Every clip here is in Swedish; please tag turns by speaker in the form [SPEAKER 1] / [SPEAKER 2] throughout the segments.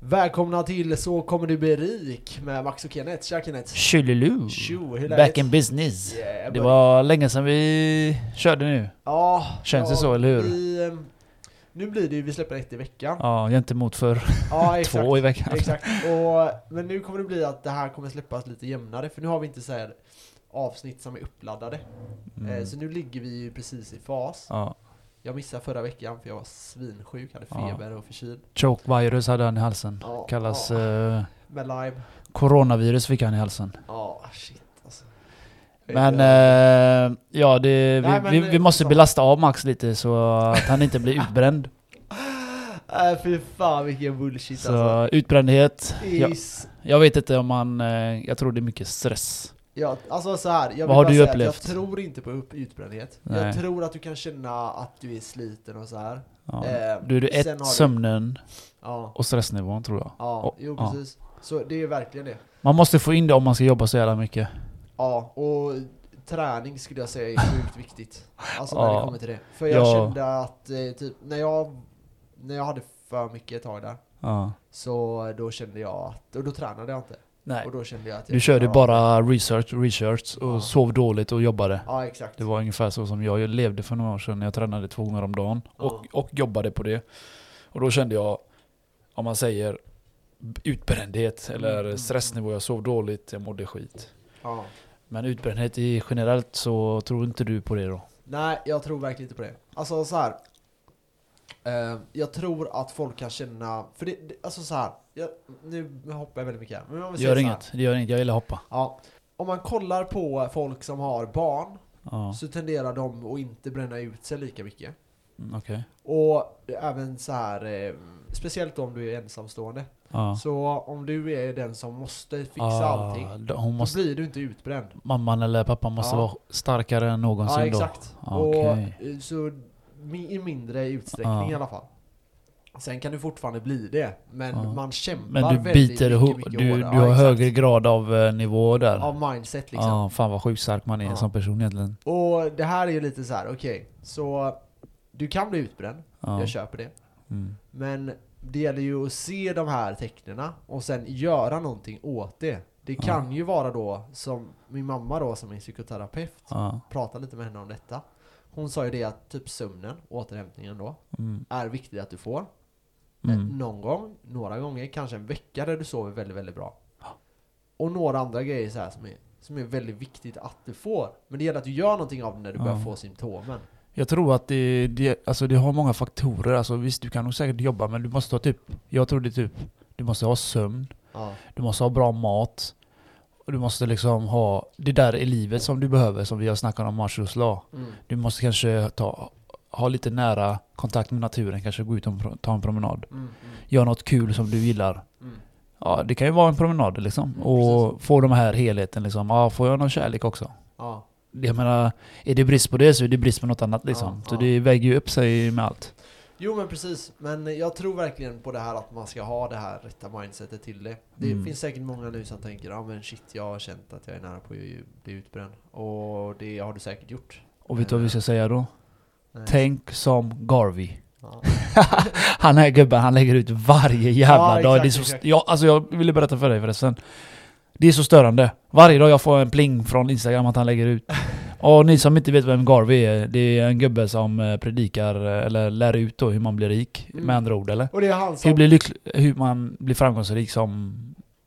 [SPEAKER 1] Välkomna till Så kommer du bli rik med Max och Kenneth. Tja Kenneth!
[SPEAKER 2] Tjolilu!
[SPEAKER 1] Tjo, hur är läget?
[SPEAKER 2] Back in business!
[SPEAKER 1] Yeah,
[SPEAKER 2] Det
[SPEAKER 1] buddy.
[SPEAKER 2] var länge sedan vi körde nu.
[SPEAKER 1] Ja,
[SPEAKER 2] Känns
[SPEAKER 1] ja,
[SPEAKER 2] det så, eller hur?
[SPEAKER 1] Vi, ehm, nu blir det ju, vi släpper ett i veckan.
[SPEAKER 2] Ja, gentemot för
[SPEAKER 1] Ja,
[SPEAKER 2] två i veckan.
[SPEAKER 1] Exakt. Och, men nu kommer det bli att det här kommer släppas lite jämnare, för nu har vi inte så här avsnitt som är uppladdade.
[SPEAKER 2] Mm.
[SPEAKER 1] Eh, Så nu ligger vi ju precis i fas.
[SPEAKER 2] Ja.
[SPEAKER 1] Jag missade förra veckan för jag var svinsjuk, hade
[SPEAKER 2] Ja.
[SPEAKER 1] feber och förkyld.
[SPEAKER 2] Choke virus hade han i halsen.
[SPEAKER 1] Ja,
[SPEAKER 2] Kallas
[SPEAKER 1] ja.
[SPEAKER 2] eh,
[SPEAKER 1] Med Lyme.
[SPEAKER 2] coronavirus fick han i halsen.
[SPEAKER 1] Ja, shit alltså.
[SPEAKER 2] Men
[SPEAKER 1] Eh,
[SPEAKER 2] eh, ja, det, vi,
[SPEAKER 1] Nej, men,
[SPEAKER 2] vi,
[SPEAKER 1] eh,
[SPEAKER 2] vi måste
[SPEAKER 1] så.
[SPEAKER 2] belasta av Max lite så att han inte blir utbränd.
[SPEAKER 1] Nej Äh, fy fan vilken bullshit alltså.
[SPEAKER 2] Så utbrändhet. Ja,
[SPEAKER 1] Is,
[SPEAKER 2] jag vet inte om han... Eh, jag tror det är mycket stress.
[SPEAKER 1] ja, alltså så här, jag vill
[SPEAKER 2] Vad har
[SPEAKER 1] bara
[SPEAKER 2] du
[SPEAKER 1] säga att
[SPEAKER 2] upplevt?
[SPEAKER 1] jag tror inte på upp- utbrändhet. Jag
[SPEAKER 2] Nej.
[SPEAKER 1] tror att du kan känna att du är sliten och så här.
[SPEAKER 2] Ja.
[SPEAKER 1] Eh,
[SPEAKER 2] Du är du
[SPEAKER 1] sen har
[SPEAKER 2] ett,
[SPEAKER 1] du-
[SPEAKER 2] sömnen
[SPEAKER 1] Ja,
[SPEAKER 2] och stressnivån tror jag.
[SPEAKER 1] ja,
[SPEAKER 2] Och-
[SPEAKER 1] jo
[SPEAKER 2] ja.
[SPEAKER 1] precis. Så det är verkligen det.
[SPEAKER 2] Man måste få in det om man ska jobba så jävla mycket.
[SPEAKER 1] Ja, och träning skulle jag säga är sjukt viktigt. Alltså när det
[SPEAKER 2] Ja.
[SPEAKER 1] kommer till det. För jag
[SPEAKER 2] Ja.
[SPEAKER 1] kände att eh, typ, när jag, när jag hade för mycket ett tag där,
[SPEAKER 2] Ja.
[SPEAKER 1] så då kände jag att, och då tränade jag inte.
[SPEAKER 2] Nej.
[SPEAKER 1] Och då kände jag att jag
[SPEAKER 2] Du körde
[SPEAKER 1] klarade av det.
[SPEAKER 2] bara research, research och
[SPEAKER 1] Ja.
[SPEAKER 2] sov dåligt och jobbade.
[SPEAKER 1] Ja exakt.
[SPEAKER 2] Det var ungefär så som jag levde för några år sedan när jag tränade två gånger om dagen och, och jobbade på det. Och då kände jag, om man säger utbrändhet eller
[SPEAKER 1] mm,
[SPEAKER 2] stressnivå, jag sov dåligt, jag mådde skit.
[SPEAKER 1] Ja.
[SPEAKER 2] Men utbrändhet i generellt så tror inte du på det då?
[SPEAKER 1] Nej, jag tror verkligen inte på det. Alltså så här. Eh, jag tror att folk kan känna, för det, det alltså så här. Jag, nu hoppar jag väldigt mycket här. Men om vi säger
[SPEAKER 2] Gör
[SPEAKER 1] så här.
[SPEAKER 2] inget, det gör inget, jag gillar hoppa.
[SPEAKER 1] Ja. Om man kollar på folk som har barn
[SPEAKER 2] Ja,
[SPEAKER 1] så tenderar de att inte bränna ut sig lika mycket.
[SPEAKER 2] mm, okej.
[SPEAKER 1] Och även så här, eh, speciellt om du är ensamstående.
[SPEAKER 2] Ja.
[SPEAKER 1] Så om du är den som måste fixa allting,
[SPEAKER 2] Ah, då- hon
[SPEAKER 1] då
[SPEAKER 2] måste,
[SPEAKER 1] blir du inte utbränd.
[SPEAKER 2] mamman eller pappan måste
[SPEAKER 1] Ja.
[SPEAKER 2] vara starkare än någonsin
[SPEAKER 1] Ja,
[SPEAKER 2] då?
[SPEAKER 1] exakt.
[SPEAKER 2] Ja,
[SPEAKER 1] Och,
[SPEAKER 2] okej.
[SPEAKER 1] eh, så mi- i mindre utsträckning
[SPEAKER 2] Ja.
[SPEAKER 1] i alla fall. Sen kan du fortfarande bli det, men
[SPEAKER 2] Ja.
[SPEAKER 1] man kämpar
[SPEAKER 2] Men du
[SPEAKER 1] väldigt
[SPEAKER 2] biter
[SPEAKER 1] mycket,
[SPEAKER 2] ihop,
[SPEAKER 1] mycket
[SPEAKER 2] du,
[SPEAKER 1] hårdare.
[SPEAKER 2] du
[SPEAKER 1] Ja,
[SPEAKER 2] har
[SPEAKER 1] exakt.
[SPEAKER 2] högre grad av eh, nivå där.
[SPEAKER 1] Av mindset liksom.
[SPEAKER 2] Ja, fan vad sjukt stark man är
[SPEAKER 1] Ja.
[SPEAKER 2] som person egentligen.
[SPEAKER 1] Och det här är ju lite så här: okej, så du kan bli utbränd,
[SPEAKER 2] Ja.
[SPEAKER 1] jag köper det.
[SPEAKER 2] Mm.
[SPEAKER 1] Men det gäller ju att se de här tecknena och sen göra någonting åt det. Det
[SPEAKER 2] Ja.
[SPEAKER 1] kan ju vara då, som min mamma då som är psykoterapeut,
[SPEAKER 2] Ja.
[SPEAKER 1] pratade lite med henne om detta. Hon sa ju det att typ sömnen, återhämtningen då,
[SPEAKER 2] Mm.
[SPEAKER 1] är viktigt att du får.
[SPEAKER 2] Mm.
[SPEAKER 1] Eh, Någon gång, några gånger, kanske en vecka där du sover väldigt, väldigt bra. Och några andra grejer så här som, är, som är väldigt viktigt att du får. Men det gäller att du gör någonting av det när du
[SPEAKER 2] Ja.
[SPEAKER 1] börjar få symptomen.
[SPEAKER 2] Jag tror att det, det, alltså det har många faktorer. Alltså visst, du kan nog säkert jobba, men du måste ha typ... Jag tror det är typ... Du måste ha sömn,
[SPEAKER 1] Ja,
[SPEAKER 2] du måste ha bra mat, och du måste liksom ha det där i livet som du behöver, som vi har snackat om Marshalls law.
[SPEAKER 1] mm.
[SPEAKER 2] Du måste kanske ta, ha lite nära kontakt med naturen, kanske gå ut och pro- ta en promenad.
[SPEAKER 1] Mm.
[SPEAKER 2] Gör något kul som du gillar.
[SPEAKER 1] Mm. Mm.
[SPEAKER 2] Ja, det kan ju vara en promenad liksom.
[SPEAKER 1] Mm,
[SPEAKER 2] och få de här helheten liksom. Ja, får jag någon kärlek också?
[SPEAKER 1] Ja.
[SPEAKER 2] Jag menar, är det brist på det så är det brist på något annat liksom.
[SPEAKER 1] Ja,
[SPEAKER 2] så
[SPEAKER 1] ja.
[SPEAKER 2] det väger ju upp sig med allt.
[SPEAKER 1] Jo men precis, men jag tror verkligen på det här att man ska ha det här rätta mindsetet till det. Det
[SPEAKER 2] Mm.
[SPEAKER 1] finns säkert många nu som tänker ja men shit jag har känt att jag är nära på att bli utbränd. Och det har du säkert gjort.
[SPEAKER 2] Och vet du vad vi ska säga då?
[SPEAKER 1] Eh, Nej.
[SPEAKER 2] Tänk som Garvey.
[SPEAKER 1] Ja.
[SPEAKER 2] Han här gubben, han lägger ut varje jävla
[SPEAKER 1] Ja,
[SPEAKER 2] dag. Det är
[SPEAKER 1] exakt,
[SPEAKER 2] så,
[SPEAKER 1] exakt.
[SPEAKER 2] jag, alltså jag ville berätta för dig förresten. Det är så störande. Varje dag jag får en pling från Instagram att han lägger ut. Och ni som inte vet vem Garvey är, det är en gubbe som eh, predikar, eh, eller lär ut då hur man blir rik,
[SPEAKER 1] Mm.
[SPEAKER 2] med andra ord eller?
[SPEAKER 1] Och det är han som
[SPEAKER 2] Hur, blir lycklig, hur man blir framgångsrik som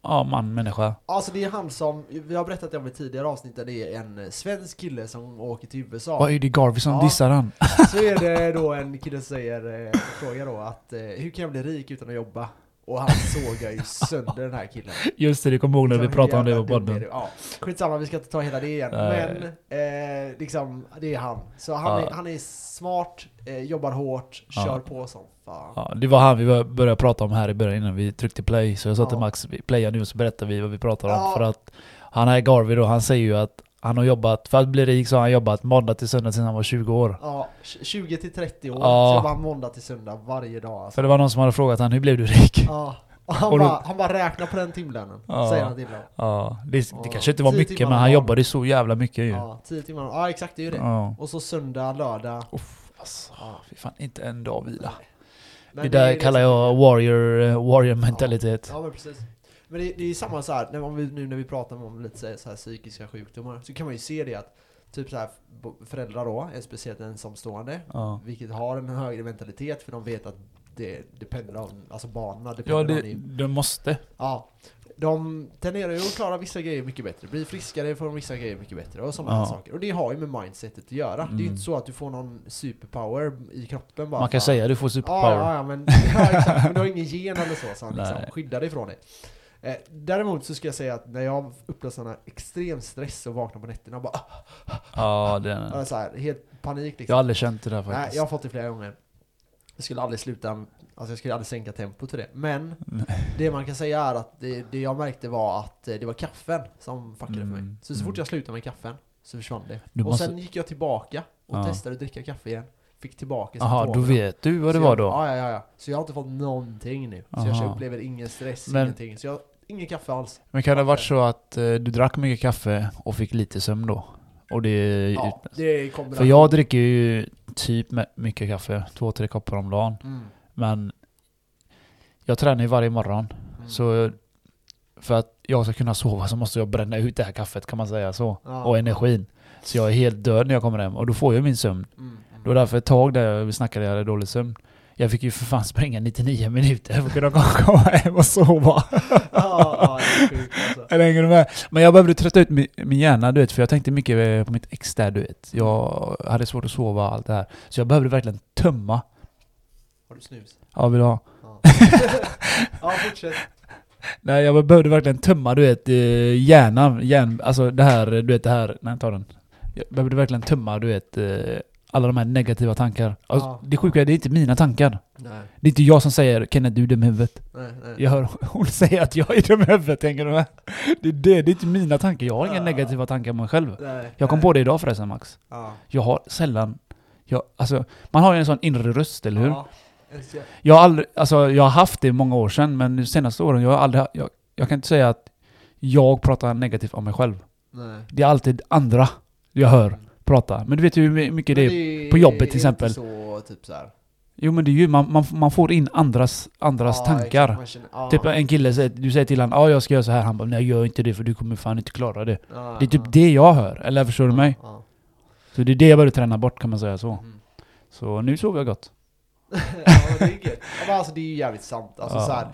[SPEAKER 2] ja, man, människa.
[SPEAKER 1] Alltså det är han som, vi har berättat om i tidigare avsnitt, där det är en eh, svensk kille som åker till USA.
[SPEAKER 2] Vad är det Garvey som
[SPEAKER 1] Ja.
[SPEAKER 2] dissar han?
[SPEAKER 1] Så är det då en kille som säger, eh, frågar då att eh, hur kan jag bli rik utan att jobba? Och han sågar ju sönder den här killen.
[SPEAKER 2] Just det, det kommer jag ihåg när vi
[SPEAKER 1] Liksom,
[SPEAKER 2] pratade om det
[SPEAKER 1] hur
[SPEAKER 2] på
[SPEAKER 1] jävla dum är
[SPEAKER 2] podden.
[SPEAKER 1] du? Ja, skitsamma, vi ska inte ta hela det igen.
[SPEAKER 2] Nej.
[SPEAKER 1] Men eh, liksom, det är han. Så han,
[SPEAKER 2] Ja.
[SPEAKER 1] är, han är smart, eh, jobbar hårt,
[SPEAKER 2] Ja.
[SPEAKER 1] kör på som fan.
[SPEAKER 2] Ja, det var han vi bör- började prata om här i början innan vi tryckte play. Så jag sa
[SPEAKER 1] Ja.
[SPEAKER 2] till Max, vi playar nu och så berättar vi vad vi pratar om.
[SPEAKER 1] Ja.
[SPEAKER 2] För att han är Garvey då, han säger ju att han har jobbat, för att bli rik så har han jobbat måndag till söndag sedan han var 20 år.
[SPEAKER 1] Ja, 20 till 30 år,
[SPEAKER 2] Ja.
[SPEAKER 1] så jobbar han måndag till söndag varje dag. Alltså.
[SPEAKER 2] För det var någon som hade frågat han, hur blev du rik?
[SPEAKER 1] Ja.
[SPEAKER 2] Ja,
[SPEAKER 1] Och han,
[SPEAKER 2] Och då-
[SPEAKER 1] bara, han bara räknar på den timlönen,
[SPEAKER 2] Ja.
[SPEAKER 1] säger han till dem.
[SPEAKER 2] det, det
[SPEAKER 1] Ja.
[SPEAKER 2] kanske inte var
[SPEAKER 1] Tio
[SPEAKER 2] mycket
[SPEAKER 1] timmar
[SPEAKER 2] men
[SPEAKER 1] om
[SPEAKER 2] han
[SPEAKER 1] dagen.
[SPEAKER 2] jobbade så jävla mycket ju.
[SPEAKER 1] Ja, 10 timmar Ja, exakt, det är ju det.
[SPEAKER 2] Ja.
[SPEAKER 1] Och så söndag, lördag.
[SPEAKER 2] Uff, alltså,
[SPEAKER 1] Ja.
[SPEAKER 2] fy fan, inte en dag vila.
[SPEAKER 1] Men
[SPEAKER 2] det där
[SPEAKER 1] är
[SPEAKER 2] kallar
[SPEAKER 1] liksom-
[SPEAKER 2] jag warrior, eh, warrior mentalitet.
[SPEAKER 1] Ja men precis. Men det, det är samma så här, när man, nu när vi pratar om lite så här, så här psykiska sjukdomar, så kan man ju se det att typ så här, bo- föräldrar då, är speciellt ensamstående,
[SPEAKER 2] Ja.
[SPEAKER 1] vilket har en högre mentalitet för de vet att det depender om, alltså barnen depender
[SPEAKER 2] Ja,
[SPEAKER 1] on
[SPEAKER 2] det,
[SPEAKER 1] you.
[SPEAKER 2] det måste.
[SPEAKER 1] Ja. De tenderar ju att klara vissa grejer mycket bättre, blir friskare från vissa grejer mycket bättre och sådana
[SPEAKER 2] Ja.
[SPEAKER 1] här saker. Och det har ju med mindsetet att göra. Det är ju
[SPEAKER 2] Mm.
[SPEAKER 1] inte så att du får någon superpower i kroppen bara.
[SPEAKER 2] Man
[SPEAKER 1] för
[SPEAKER 2] kan
[SPEAKER 1] att-
[SPEAKER 2] säga du får
[SPEAKER 1] Ja,
[SPEAKER 2] superpower.
[SPEAKER 1] ja, ja, men, ja exakt, men du har ingen gen eller så som
[SPEAKER 2] Nej.
[SPEAKER 1] liksom skyddar dig från det. Eh, däremot så ska jag säga att när jag upplevde sån här extrem stress och vaknar på nätterna och bara ah,
[SPEAKER 2] Ja, det är
[SPEAKER 1] ah, så här, helt panik
[SPEAKER 2] Jag
[SPEAKER 1] liksom.
[SPEAKER 2] har aldrig känt det där
[SPEAKER 1] Nej,
[SPEAKER 2] faktiskt.
[SPEAKER 1] jag har fått det flera gånger. Jag skulle aldrig sluta, alltså jag skulle aldrig sänka tempo till det. Men det man kan säga är att det, det jag märkte var att eh, det var kaffen som fuckade för mig.
[SPEAKER 2] Mm,
[SPEAKER 1] Så så
[SPEAKER 2] mm.
[SPEAKER 1] fort jag slutade med kaffen så försvann det.
[SPEAKER 2] Du
[SPEAKER 1] och
[SPEAKER 2] måste-
[SPEAKER 1] sen gick jag tillbaka och
[SPEAKER 2] Ja.
[SPEAKER 1] testade att dricka kaffe igen. Fick tillbaka
[SPEAKER 2] Jaha, då
[SPEAKER 1] symptomen.
[SPEAKER 2] vet du vad det
[SPEAKER 1] Så
[SPEAKER 2] var
[SPEAKER 1] jag,
[SPEAKER 2] då?
[SPEAKER 1] Ja, ja, ja, ja. Så jag har inte fått någonting nu. Så
[SPEAKER 2] Aha.
[SPEAKER 1] jag upplever ingen stress,
[SPEAKER 2] Men-
[SPEAKER 1] ingenting. Så jag ingen kaffe alls.
[SPEAKER 2] Men kan det ha varit så att eh, du drack mycket kaffe och fick lite sömn då? Och det...
[SPEAKER 1] Ja, det kommer
[SPEAKER 2] för jag dricker ju typ med- mycket kaffe, två, tre koppar om dagen.
[SPEAKER 1] Mm.
[SPEAKER 2] Men jag tränar ju varje morgon.
[SPEAKER 1] Mm.
[SPEAKER 2] Så för att jag ska kunna sova så måste jag bränna ut det här kaffet kan man säga så.
[SPEAKER 1] Ja.
[SPEAKER 2] Och energin. Så jag är helt död när jag kommer hem och då får jag min sömn.
[SPEAKER 1] Mm. mm.
[SPEAKER 2] Det var därför ett tag där vi snackade jag hade dålig sömn. Jag fick ju för fan springa 99 minuter för att kunna komma hem och sova.
[SPEAKER 1] ja, ja, det är sjukt alltså.
[SPEAKER 2] Eller hänger du med? Men jag behövde trötta ut min, min hjärna, du vet, för jag tänkte mycket eh, på mitt ex där, du vet. Jag hade svårt att sova och allt det här. Så jag behövde verkligen tömma.
[SPEAKER 1] Har du snus?
[SPEAKER 2] Ja, vill du ha?
[SPEAKER 1] Ja, ja fortsätt.
[SPEAKER 2] Nej, jag behövde verkligen tömma, du vet, eh, hjärnan. Hjärn, alltså det här, eh, du vet det här. Nej, ta den. Jag behövde verkligen tömma, du vet, eh, alla de här negativa tankar. Alltså,
[SPEAKER 1] Ja.
[SPEAKER 2] Det sjuka är, det är inte mina tankar.
[SPEAKER 1] Nej,
[SPEAKER 2] Det är inte jag som säger 'Kenneth, du är dum i huvudet'
[SPEAKER 1] nej, nej.
[SPEAKER 2] Jag hör hon säga att jag är dum i huvudet, tänker du med? Det är det, det är inte mina tankar. Jag har inga
[SPEAKER 1] Ja.
[SPEAKER 2] negativa tankar om mig själv.
[SPEAKER 1] nej
[SPEAKER 2] Jag kom på det idag förresten Max.
[SPEAKER 1] Ja.
[SPEAKER 2] Jag har sällan... Jag, alltså, man har ju en sån inre röst, eller hur?
[SPEAKER 1] Ja. En skä-
[SPEAKER 2] Jag, har aldrig, alltså, jag har haft det i många år sedan, men de senaste åren, jag har aldrig... Jag, jag kan inte säga att jag pratar negativt om mig själv.
[SPEAKER 1] Nej.
[SPEAKER 2] Det är alltid andra jag hör prata. Men du vet ju hur mycket det är. på jobbet till
[SPEAKER 1] är inte
[SPEAKER 2] exempel.
[SPEAKER 1] Så, typ så här.
[SPEAKER 2] Jo men det är ju, man, man, man får in andras, andras
[SPEAKER 1] Ja,
[SPEAKER 2] tankar.
[SPEAKER 1] exakt, man känner- ja.
[SPEAKER 2] Typ en kille, säger, du säger till honom ja jag ska göra så här, han bara nej gör inte det för du kommer fan inte klara det.
[SPEAKER 1] Ja,
[SPEAKER 2] Det är typ
[SPEAKER 1] ja.
[SPEAKER 2] det jag hör, eller förstår du
[SPEAKER 1] Ja,
[SPEAKER 2] mig?
[SPEAKER 1] ja.
[SPEAKER 2] Så det är det jag började träna bort kan man säga så.
[SPEAKER 1] Mm.
[SPEAKER 2] Så nu sover jag gott.
[SPEAKER 1] ja, det är gött. Ja, men alltså det är ju jävligt sant. Alltså
[SPEAKER 2] Ja.
[SPEAKER 1] så här,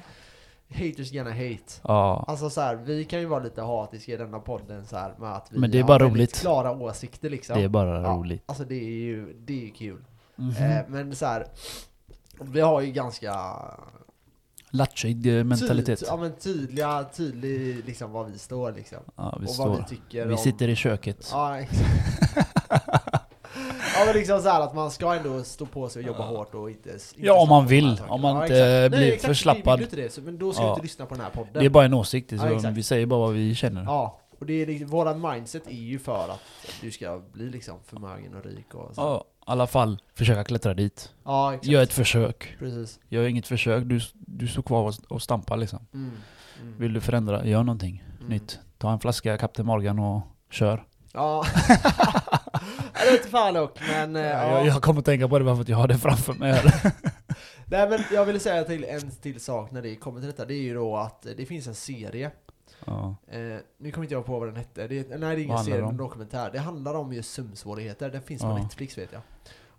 [SPEAKER 1] haters gonna hate.
[SPEAKER 2] Ja.
[SPEAKER 1] Alltså så här, vi kan ju vara lite hatiska i denna podden så här med att vi
[SPEAKER 2] Men det är
[SPEAKER 1] har
[SPEAKER 2] bara
[SPEAKER 1] väldigt
[SPEAKER 2] roligt.
[SPEAKER 1] klara åsikter liksom.
[SPEAKER 2] Det är bara
[SPEAKER 1] Ja.
[SPEAKER 2] roligt.
[SPEAKER 1] Alltså det är ju, det är ju kul.
[SPEAKER 2] Mhm.
[SPEAKER 1] Eh, men så här, vi har ju ganska
[SPEAKER 2] Lattjig eh,
[SPEAKER 1] tyd-
[SPEAKER 2] mentalitet.
[SPEAKER 1] typ, ja, men tydliga, tydlig liksom vad vi står liksom.
[SPEAKER 2] Ja, vi
[SPEAKER 1] och vad
[SPEAKER 2] står.
[SPEAKER 1] vi tycker
[SPEAKER 2] Vi
[SPEAKER 1] om...
[SPEAKER 2] sitter i köket.
[SPEAKER 1] Ja, exakt. ja men liksom så här att man ska ändå stå på sig och jobba hårt och inte... inte
[SPEAKER 2] Ja, om
[SPEAKER 1] slappa
[SPEAKER 2] man
[SPEAKER 1] på
[SPEAKER 2] vill.
[SPEAKER 1] de här sakerna.
[SPEAKER 2] Om man
[SPEAKER 1] Ja,
[SPEAKER 2] inte
[SPEAKER 1] exakt.
[SPEAKER 2] blir
[SPEAKER 1] Nej, exakt, Vi vill
[SPEAKER 2] förslappad.
[SPEAKER 1] ju inte det, så, men då ska
[SPEAKER 2] Ja.
[SPEAKER 1] du inte lyssna på den här podden.
[SPEAKER 2] Det är bara en åsikt,
[SPEAKER 1] Ja,
[SPEAKER 2] så
[SPEAKER 1] exakt.
[SPEAKER 2] vi säger bara vad vi känner.
[SPEAKER 1] Ja, och det är liksom, våra mindset är ju för att du ska bli liksom förmögen och rik och så.
[SPEAKER 2] Ja, i alla fall försöka klättra dit.
[SPEAKER 1] Ja, exakt.
[SPEAKER 2] Gör ett försök.
[SPEAKER 1] Precis.
[SPEAKER 2] Gör inget försök, du, du står kvar och- och stampar liksom.
[SPEAKER 1] Mm. Mm.
[SPEAKER 2] Vill du förändra, gör någonting
[SPEAKER 1] Mm.
[SPEAKER 2] nytt. Ta en flaska Kapten Morgan och kör.
[SPEAKER 1] Ja. Ja, det vete fan dock, men... eh, Ja,
[SPEAKER 2] Jag, jag kommer att tänka på det bara för att jag har det framför mig här.
[SPEAKER 1] Nej men jag ville säga till en till sak när det kommer till detta, det är ju då att eh, det finns en serie
[SPEAKER 2] ja.
[SPEAKER 1] Eh, nu kommer inte jag på vad den hette. Det, är- nej, det är
[SPEAKER 2] Vad
[SPEAKER 1] ingen
[SPEAKER 2] handlar
[SPEAKER 1] serie,
[SPEAKER 2] det
[SPEAKER 1] det är
[SPEAKER 2] om?
[SPEAKER 1] en dokumentär. Det handlar om just sömnsvårigheter. Den finns på
[SPEAKER 2] Ja.
[SPEAKER 1] Netflix vet jag.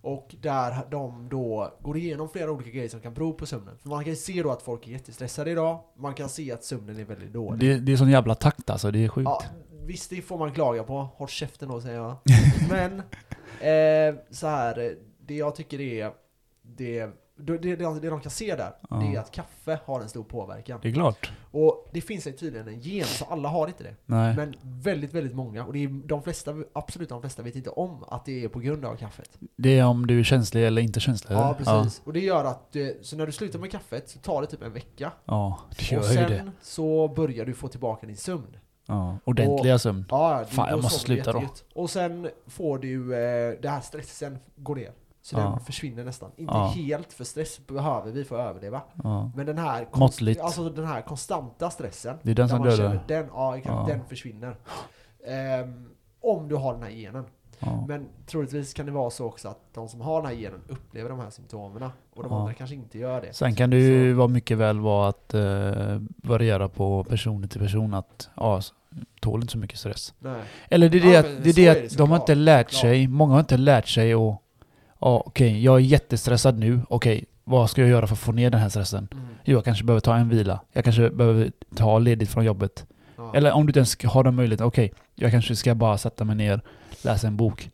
[SPEAKER 1] Och där de då går igenom flera olika grejer som kan bero på sömnen. För man kan ju se då att folk är jättestressade idag. Man kan se att sömnen är väldigt dålig.
[SPEAKER 2] det, det är sån jävla takt alltså, det är sjukt.
[SPEAKER 1] Ja, visst, det får man klaga på. Håll käften då säger jag. Men eh, så här, eh, det jag tycker är det, det, det, det de kan se där,
[SPEAKER 2] Ja.
[SPEAKER 1] det är att kaffe har en stor påverkan.
[SPEAKER 2] Det är klart.
[SPEAKER 1] Och det finns ju tydligen en gen, så alla har inte det.
[SPEAKER 2] Nej.
[SPEAKER 1] Men väldigt, väldigt många. Och det är de flesta, absolut de flesta vet inte om att det är på grund av kaffet.
[SPEAKER 2] Det är om du är känslig eller inte känslig.
[SPEAKER 1] Ja,
[SPEAKER 2] eller?
[SPEAKER 1] precis. Och det gör att, eh, så när du slutar med kaffet så tar det typ en vecka.
[SPEAKER 2] Ja, ja det gör
[SPEAKER 1] och
[SPEAKER 2] ju
[SPEAKER 1] sen
[SPEAKER 2] det.
[SPEAKER 1] så börjar du få tillbaka din sömn.
[SPEAKER 2] Ja. Ordentliga sömn.
[SPEAKER 1] Ja, ja,
[SPEAKER 2] Fan,
[SPEAKER 1] då
[SPEAKER 2] jag måste
[SPEAKER 1] sover du
[SPEAKER 2] sluta då.
[SPEAKER 1] jättegött. Och sen får du, eh, det här stressen går ner. Så
[SPEAKER 2] Ja.
[SPEAKER 1] den försvinner nästan. Inte
[SPEAKER 2] Ja.
[SPEAKER 1] helt, för stress behöver vi för att överleva.
[SPEAKER 2] Ja.
[SPEAKER 1] Men den här, konst-
[SPEAKER 2] Måttligt.
[SPEAKER 1] alltså den här konstanta stressen.
[SPEAKER 2] Det är den
[SPEAKER 1] där
[SPEAKER 2] som
[SPEAKER 1] man
[SPEAKER 2] dödar.
[SPEAKER 1] känner Den, ja, exakt,
[SPEAKER 2] Ja.
[SPEAKER 1] den försvinner. Ehm, om du har den här genen.
[SPEAKER 2] Ja.
[SPEAKER 1] Men troligtvis kan det vara så också att de som har den här genen upplever de här symptomen och de
[SPEAKER 2] Ja.
[SPEAKER 1] andra kanske inte gör det.
[SPEAKER 2] Sen kan det ju vara mycket väl vara att eh, variera på person till person att ja, s- tål inte så mycket stress.
[SPEAKER 1] Nej.
[SPEAKER 2] Eller det är
[SPEAKER 1] Ja,
[SPEAKER 2] det, att-
[SPEAKER 1] men
[SPEAKER 2] det, är
[SPEAKER 1] så
[SPEAKER 2] det
[SPEAKER 1] är
[SPEAKER 2] att
[SPEAKER 1] det
[SPEAKER 2] de har
[SPEAKER 1] såklart.
[SPEAKER 2] inte lärt sig,
[SPEAKER 1] Klart.
[SPEAKER 2] många har inte lärt sig och ja okej, jag är jättestressad nu, okej, vad ska jag göra för att få ner den här stressen?
[SPEAKER 1] Mm.
[SPEAKER 2] Jo, jag kanske behöver ta en vila, jag kanske behöver ta ledigt från jobbet.
[SPEAKER 1] Ja.
[SPEAKER 2] Eller om du inte ens ska- har den möjligheten, okej, jag kanske ska bara sätta mig ner, läsa en bok.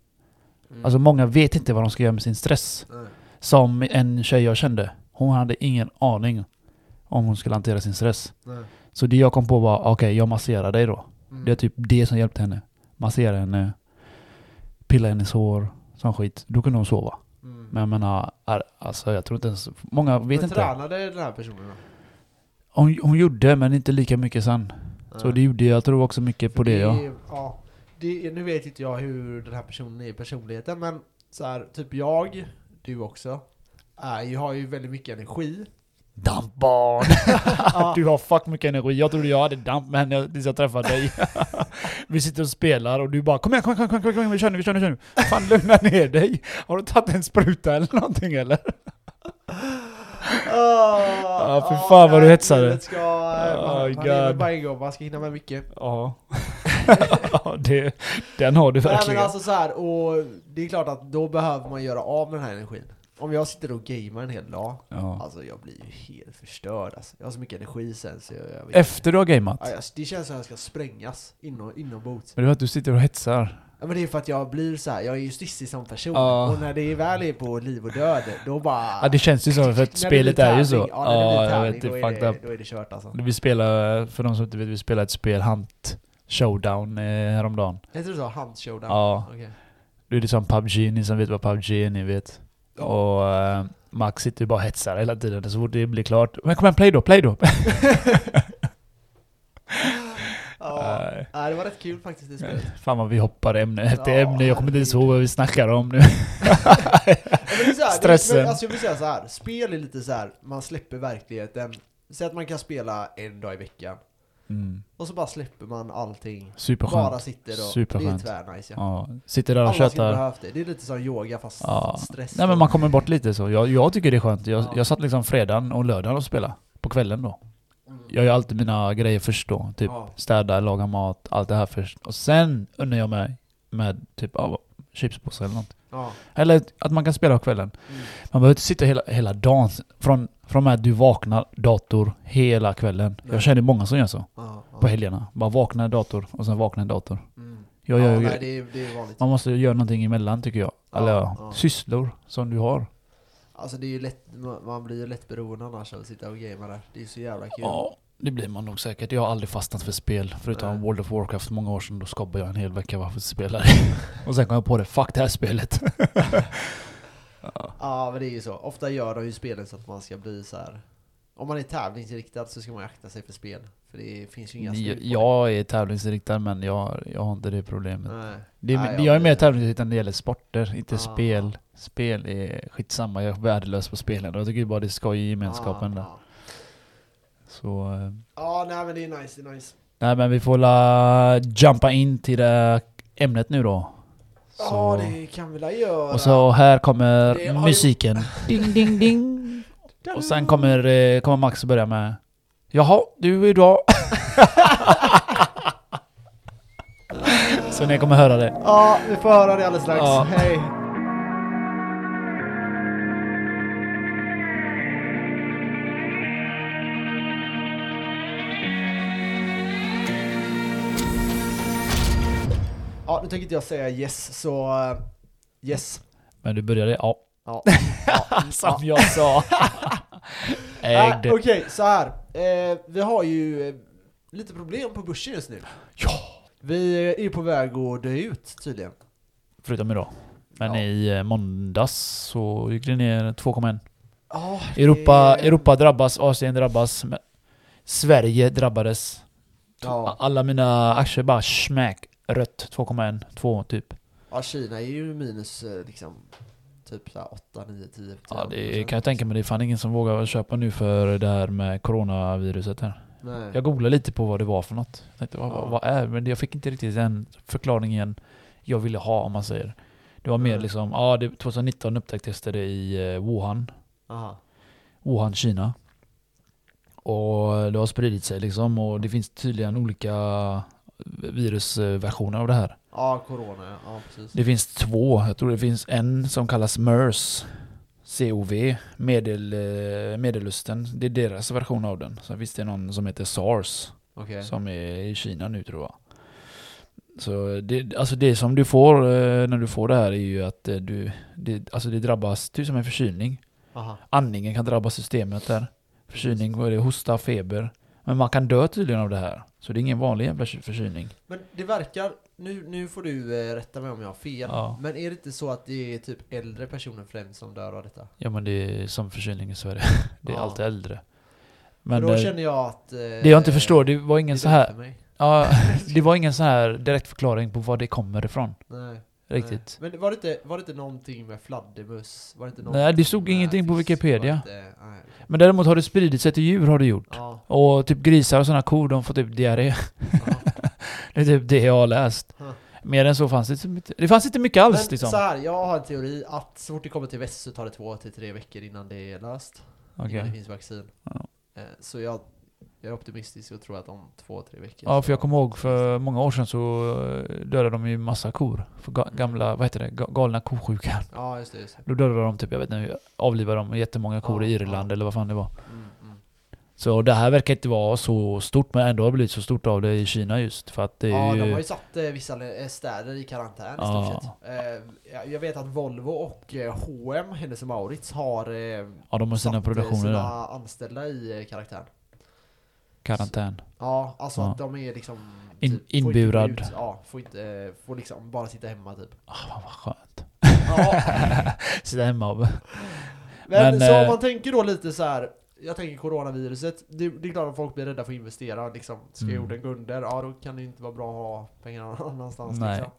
[SPEAKER 1] Mm.
[SPEAKER 2] Alltså många vet inte vad de ska göra med sin stress.
[SPEAKER 1] Nej.
[SPEAKER 2] Som en tjej jag kände. Hon hade ingen aning om hon skulle hantera sin stress.
[SPEAKER 1] Nej.
[SPEAKER 2] Så det jag kom på var, okej jag masserar dig då.
[SPEAKER 1] Mm.
[SPEAKER 2] Det är typ det som hjälpte henne. Massera henne, pilla hennes hår, sån skit. Då kunde hon sova.
[SPEAKER 1] Mm.
[SPEAKER 2] Men jag menar, är- alltså jag tror inte ens, många vet
[SPEAKER 1] men
[SPEAKER 2] inte.
[SPEAKER 1] tränade den här personen då?
[SPEAKER 2] Hon, hon gjorde, men inte lika mycket sen. Så
[SPEAKER 1] Nej.
[SPEAKER 2] det gjorde jag tror också mycket
[SPEAKER 1] För
[SPEAKER 2] på det ja.
[SPEAKER 1] är- ja. Det, är- nu vet inte jag hur den här personen är i personligheten, men så här, typ jag, du också, är, ju- har ju väldigt mycket energi.
[SPEAKER 2] Dampbarn!
[SPEAKER 1] ja,
[SPEAKER 2] Du har fuck mycket energi. Jag trodde jag hade damp med henne tills jag träffade dig. vi sitter och spelar och du bara kom igen, kom igen, kom igen, kom igen, kom igen vi kör nu, vi kör nu, vi kör nu. Fan lugna ner dig. Har du tagit en spruta eller någonting eller?
[SPEAKER 1] Ja,
[SPEAKER 2] Ah, fy fan vad du
[SPEAKER 1] Ah, nej,
[SPEAKER 2] hetsade.
[SPEAKER 1] livet Ska,
[SPEAKER 2] Oh,
[SPEAKER 1] man, man lever
[SPEAKER 2] God.
[SPEAKER 1] bara en gång, man ska hinna med mycket.
[SPEAKER 2] Ja. ja det, den har du
[SPEAKER 1] Nej
[SPEAKER 2] verkligen.
[SPEAKER 1] men alltså så här, och det är klart att då behöver man göra av med den här energin. Om jag sitter och gamer en hel dag,
[SPEAKER 2] ja.
[SPEAKER 1] alltså jag blir ju helt förstörd alltså. Jag har så mycket energi sen så jag, jag vet
[SPEAKER 2] Efter du har gameat?
[SPEAKER 1] Ja, jag- det känns som att jag ska sprängas inom, inombords.
[SPEAKER 2] Men det är att du sitter och hetsar.
[SPEAKER 1] Ja, men det är för att jag blir så här, jag är ju stissig som person.
[SPEAKER 2] Ja.
[SPEAKER 1] Och när det väl är på liv och död, då bara...
[SPEAKER 2] Ja det känns ju så för att
[SPEAKER 1] när det blir
[SPEAKER 2] spelet är ju så.
[SPEAKER 1] tävling, Ja, när det blir
[SPEAKER 2] Ja jag
[SPEAKER 1] tävling,
[SPEAKER 2] vet det,
[SPEAKER 1] då,
[SPEAKER 2] fucked
[SPEAKER 1] är
[SPEAKER 2] up.
[SPEAKER 1] det, då är det kört alltså.
[SPEAKER 2] Vi spelar, för de som inte vet, vi spelar ett spel, Hunt Showdown eh, häromdagen.
[SPEAKER 1] Heter det så? Hand showdown?
[SPEAKER 2] Ja.
[SPEAKER 1] Okej.
[SPEAKER 2] Det är liksom PubG, ni som vet vad PubG är, ni vet.
[SPEAKER 1] Ja.
[SPEAKER 2] Och eh, Max sitter ju bara och hetsar hela tiden. Så fort det blir klart. Men kom igen, play då, play då!
[SPEAKER 1] Ja.
[SPEAKER 2] Eh,
[SPEAKER 1] ja, det var rätt kul faktiskt det spelet.
[SPEAKER 2] Fan vad vi hoppar ämne efter
[SPEAKER 1] Ja,
[SPEAKER 2] ämne. Jag kommer inte ens
[SPEAKER 1] herregud.
[SPEAKER 2] ihåg vad vi snackar om nu.
[SPEAKER 1] Ja, men det är så här,
[SPEAKER 2] Stressen.
[SPEAKER 1] Det, men alltså jag vill säga så här. spel är lite så här. man släpper verkligheten. Säg att man kan spela en dag i veckan.
[SPEAKER 2] Mm.
[SPEAKER 1] Och så bara släpper man allting. Bara
[SPEAKER 2] Superskönt.
[SPEAKER 1] sitter och...
[SPEAKER 2] Superskönt.
[SPEAKER 1] Det är tvärnice ja.
[SPEAKER 2] Ja. Sitter där och
[SPEAKER 1] Alla skulle
[SPEAKER 2] tjötar.
[SPEAKER 1] behövt det. Det är lite som yoga fast
[SPEAKER 2] Ja.
[SPEAKER 1] stress.
[SPEAKER 2] Nej men man kommer bort lite så. Jag, jag tycker det är skönt. Jag,
[SPEAKER 1] Ja.
[SPEAKER 2] jag satt liksom fredagen och lördagen och spelade. På kvällen då. Jag gör alltid mina grejer först då. Typ
[SPEAKER 1] Mm. Ja.
[SPEAKER 2] städa, laga mat, allt det här först. Och sen unnar jag mig med typ ja, chipspåse eller något.
[SPEAKER 1] Ja.
[SPEAKER 2] Eller att man kan spela på kvällen.
[SPEAKER 1] Mm.
[SPEAKER 2] Man behöver inte sitta hela, hela dagen. Från, från att du vaknar dator hela kvällen.
[SPEAKER 1] Nej.
[SPEAKER 2] Jag känner många som gör så.
[SPEAKER 1] Ja, ja.
[SPEAKER 2] På helgerna. Bara vaknar dator och sen vaknar dator.
[SPEAKER 1] Mm.
[SPEAKER 2] Jag
[SPEAKER 1] ja,
[SPEAKER 2] gör ju
[SPEAKER 1] nej, det, är, det är vanligt.
[SPEAKER 2] Man måste göra någonting emellan tycker jag.
[SPEAKER 1] Ja,
[SPEAKER 2] Eller ja,
[SPEAKER 1] ja.
[SPEAKER 2] sysslor som du har.
[SPEAKER 1] Alltså det är ju lätt, man man blir ju lätt beroende annars av att sitta och gamea där. Det är så jävla kul.
[SPEAKER 2] Ja, det blir man nog säkert. Jag har aldrig fastnat för spel. Förutom
[SPEAKER 1] Nej.
[SPEAKER 2] World of Warcraft för många år sedan. Då skabbade jag en hel vecka varför spelar Och sen kom jag på det. Fuck det här spelet.
[SPEAKER 1] Ja, men det är ju så. Ofta gör de ju spelen så att man ska bli så här. Om man är tävlingsinriktad så ska man ju akta sig för spel. För det finns ju inga slut på
[SPEAKER 2] jag är tävlingsriktad men jag, jag har inte det problemet.
[SPEAKER 1] det. Nej.
[SPEAKER 2] Det är,
[SPEAKER 1] Nej,
[SPEAKER 2] jag är mer
[SPEAKER 1] blir-
[SPEAKER 2] tävlingsriktad när det gäller sporter, inte
[SPEAKER 1] Ah.
[SPEAKER 2] spel. Spel är skitsamma, jag är värdelös på spelen. Jag tycker bara det är skoj i gemenskapen
[SPEAKER 1] Ja,
[SPEAKER 2] där.
[SPEAKER 1] ja.
[SPEAKER 2] Så... eh,
[SPEAKER 1] Ja, nej men det är nice, det är nice.
[SPEAKER 2] Nej men vi får la jumpa in till det ämnet nu då.
[SPEAKER 1] Ja,
[SPEAKER 2] Så,
[SPEAKER 1] det kan vi väl göra.
[SPEAKER 2] och så här kommer
[SPEAKER 1] Det har ju-
[SPEAKER 2] musiken. Ding ding ding. Och sen kommer, eh, kommer Max börja med Jaha, du är idag. så ni kommer höra det.
[SPEAKER 1] Ja, vi får höra det alldeles strax.
[SPEAKER 2] Ja.
[SPEAKER 1] Hej! Ja, nu tänker inte jag säga yes, så... eh, Yes.
[SPEAKER 2] Men du började, ja.
[SPEAKER 1] Ja.
[SPEAKER 2] Som jag sa.
[SPEAKER 1] Äh,
[SPEAKER 2] Ägd.
[SPEAKER 1] Okej, så här. Eh, vi har ju eh, lite problem på börsen just nu.
[SPEAKER 2] Ja.
[SPEAKER 1] Vi eh, är ju på väg att dö ut tydligen.
[SPEAKER 2] Förutom idag. Men
[SPEAKER 1] Ja.
[SPEAKER 2] i eh, måndags så gick det ner 2,1.
[SPEAKER 1] Ja,
[SPEAKER 2] Europa,
[SPEAKER 1] det-
[SPEAKER 2] Europa drabbas, Asien drabbas. Men Sverige drabbades.
[SPEAKER 1] Ja.
[SPEAKER 2] Alla mina aktier bara smack. Rött 2,1, 2 typ.
[SPEAKER 1] Ja, Kina är ju minus eh, liksom typ så här 8, 9, 10
[SPEAKER 2] Ja, det kan jag tänka mig. Det är fan ingen som vågar köpa nu för det här med coronaviruset här.
[SPEAKER 1] Nej.
[SPEAKER 2] Jag googlade lite på vad det var för något. Jag tänkte, vad,
[SPEAKER 1] Ja.
[SPEAKER 2] vad, vad är det? Men jag fick inte riktigt en förklaring igen. jag ville ha om man säger. Det var mer
[SPEAKER 1] Mm.
[SPEAKER 2] liksom, ja det, 2019 upptäcktes det i eh, Wuhan,
[SPEAKER 1] Aha.
[SPEAKER 2] Wuhan, Kina. Och det har spridit sig liksom och det finns tydligen olika virusversioner av det här.
[SPEAKER 1] Ja, corona ja. ja, precis.
[SPEAKER 2] Det finns två, jag tror det finns en som kallas MERS COV, medel, eh, Medelöstern, det är deras version av den. Sen finns det någon som heter SARS
[SPEAKER 1] Okej.
[SPEAKER 2] som är i Kina nu tror jag. Så det, alltså det som du får eh, när du får det här är ju att eh, du, det, alltså det drabbas, typ som en förkylning.
[SPEAKER 1] Aha.
[SPEAKER 2] Andningen kan drabba systemet där. Förkylning, vad är det? hosta, feber. Men man kan dö tydligen av det här. Så det är ingen vanlig jävla förky- förkylning.
[SPEAKER 1] Men det verkar, nu, nu får du eh, rätta mig om jag har fel.
[SPEAKER 2] Ja.
[SPEAKER 1] Men är det inte så att det är typ äldre personer främst som dör av detta?
[SPEAKER 2] Ja men det är som förkylning i Sverige. Det är
[SPEAKER 1] Ja.
[SPEAKER 2] alltid äldre.
[SPEAKER 1] Men
[SPEAKER 2] Men
[SPEAKER 1] då
[SPEAKER 2] eh,
[SPEAKER 1] känner jag att... eh,
[SPEAKER 2] det jag inte förstår, det var
[SPEAKER 1] det är
[SPEAKER 2] ingen så
[SPEAKER 1] dumt för
[SPEAKER 2] här,
[SPEAKER 1] mig.
[SPEAKER 2] ja, det var ingen så här direkt förklaring på var det kommer ifrån.
[SPEAKER 1] Nej,
[SPEAKER 2] Riktigt.
[SPEAKER 1] Nej. Men var det, inte, var det inte någonting med fladdermus? Var det, inte
[SPEAKER 2] Nej,
[SPEAKER 1] någonting
[SPEAKER 2] det stod
[SPEAKER 1] med
[SPEAKER 2] ingenting på
[SPEAKER 1] fisk?
[SPEAKER 2] Wikipedia.
[SPEAKER 1] Var det inte- nej, okej.
[SPEAKER 2] Men däremot har det spridit sig till djur har det gjort.
[SPEAKER 1] Ja,
[SPEAKER 2] Och typ grisar och sådana kor, de får typ diarré.
[SPEAKER 1] ja.
[SPEAKER 2] Det är typ det jag har läst.
[SPEAKER 1] Ja.
[SPEAKER 2] Mer än så fanns det inte, det fanns inte mycket alls
[SPEAKER 1] Men
[SPEAKER 2] liksom.
[SPEAKER 1] så här, jag har en teori att så fort det kommer till väst så tar det två till tre veckor innan det är löst. Innan det
[SPEAKER 2] Okej.
[SPEAKER 1] finns vaccin.
[SPEAKER 2] Ja.
[SPEAKER 1] Eh, Så jag, jag är optimistisk och tror att om två, tre veckor
[SPEAKER 2] Ja,
[SPEAKER 1] så-
[SPEAKER 2] för jag kommer ihåg för många år sedan så eh, dödade de ju massa kor. För ga-
[SPEAKER 1] Mm.
[SPEAKER 2] gamla, vad heter det, Ga- galna kosjukan.
[SPEAKER 1] Ja, just det. Just det.
[SPEAKER 2] Då dödade de typ, jag vet inte, avlivade de jättemånga kor
[SPEAKER 1] Ja,
[SPEAKER 2] i Irland eller vad fan det var.
[SPEAKER 1] Mm, mm.
[SPEAKER 2] Så det här verkar inte vara så stort, men ändå har det blivit så stort av det i Kina just. För att det
[SPEAKER 1] Ja,
[SPEAKER 2] är
[SPEAKER 1] de
[SPEAKER 2] ju...
[SPEAKER 1] har ju satt eh, vissa lä- eh, städer i karantän i
[SPEAKER 2] Ja.
[SPEAKER 1] stort sett. Eh, jag- Jag vet att Volvo och eh, H&M, Hennes och Mauritz har eh,
[SPEAKER 2] ja, de har sina
[SPEAKER 1] satt, eh,
[SPEAKER 2] produktioner
[SPEAKER 1] sina
[SPEAKER 2] där.
[SPEAKER 1] anställda i eh, karantän.
[SPEAKER 2] Karantän.
[SPEAKER 1] Ja, alltså
[SPEAKER 2] Ja.
[SPEAKER 1] att de är liksom...
[SPEAKER 2] In-
[SPEAKER 1] får inte gå
[SPEAKER 2] inburad.
[SPEAKER 1] ut. Ja, får inte... eh, Får liksom bara sitta hemma typ.
[SPEAKER 2] Ah, fan vad skönt.
[SPEAKER 1] Ja,
[SPEAKER 2] Sitta hemma och...
[SPEAKER 1] Men,
[SPEAKER 2] Men,
[SPEAKER 1] så
[SPEAKER 2] eh,
[SPEAKER 1] om man tänker då lite så här. Jag tänker coronaviruset, det, det är klart att folk blir rädda för att investera liksom. Ska
[SPEAKER 2] Mm.
[SPEAKER 1] jorden gå under, ja då kan det ju inte vara bra att ha pengarna någon annanstans
[SPEAKER 2] Nej.
[SPEAKER 1] liksom.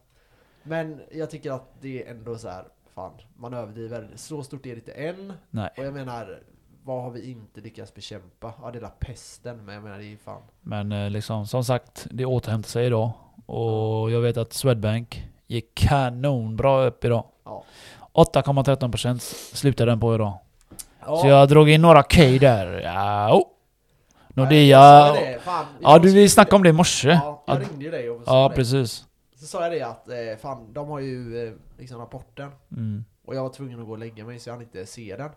[SPEAKER 1] Men jag tycker att det är ändå så här, fan, man överdriver. Så stort är det inte än.
[SPEAKER 2] Nej.
[SPEAKER 1] Och jag menar, vad har vi inte lyckats bekämpa? Ja det är la pesten, men jag menar det är ju fan.
[SPEAKER 2] Men eh, liksom, som sagt, det återhämtar sig idag. Och jag vet att Swedbank gick kanonbra upp idag.
[SPEAKER 1] Ja.
[SPEAKER 2] 8,13% slutade den på idag.
[SPEAKER 1] Ja,
[SPEAKER 2] Så jag drog in några K där. Ja, oh.
[SPEAKER 1] nej,
[SPEAKER 2] Nordea.
[SPEAKER 1] jag sa det, fan,
[SPEAKER 2] Ja,
[SPEAKER 1] jag
[SPEAKER 2] du
[SPEAKER 1] skulle-
[SPEAKER 2] vi snackade om det i morse.
[SPEAKER 1] Ja, jag
[SPEAKER 2] Att-
[SPEAKER 1] ringde ju dig och sa
[SPEAKER 2] Ja,
[SPEAKER 1] det.
[SPEAKER 2] precis.
[SPEAKER 1] Så sa jag det att, eh, fan, de har ju eh, liksom rapporten.
[SPEAKER 2] Mm.
[SPEAKER 1] Och jag var tvungen att gå och lägga mig så jag hann inte se den.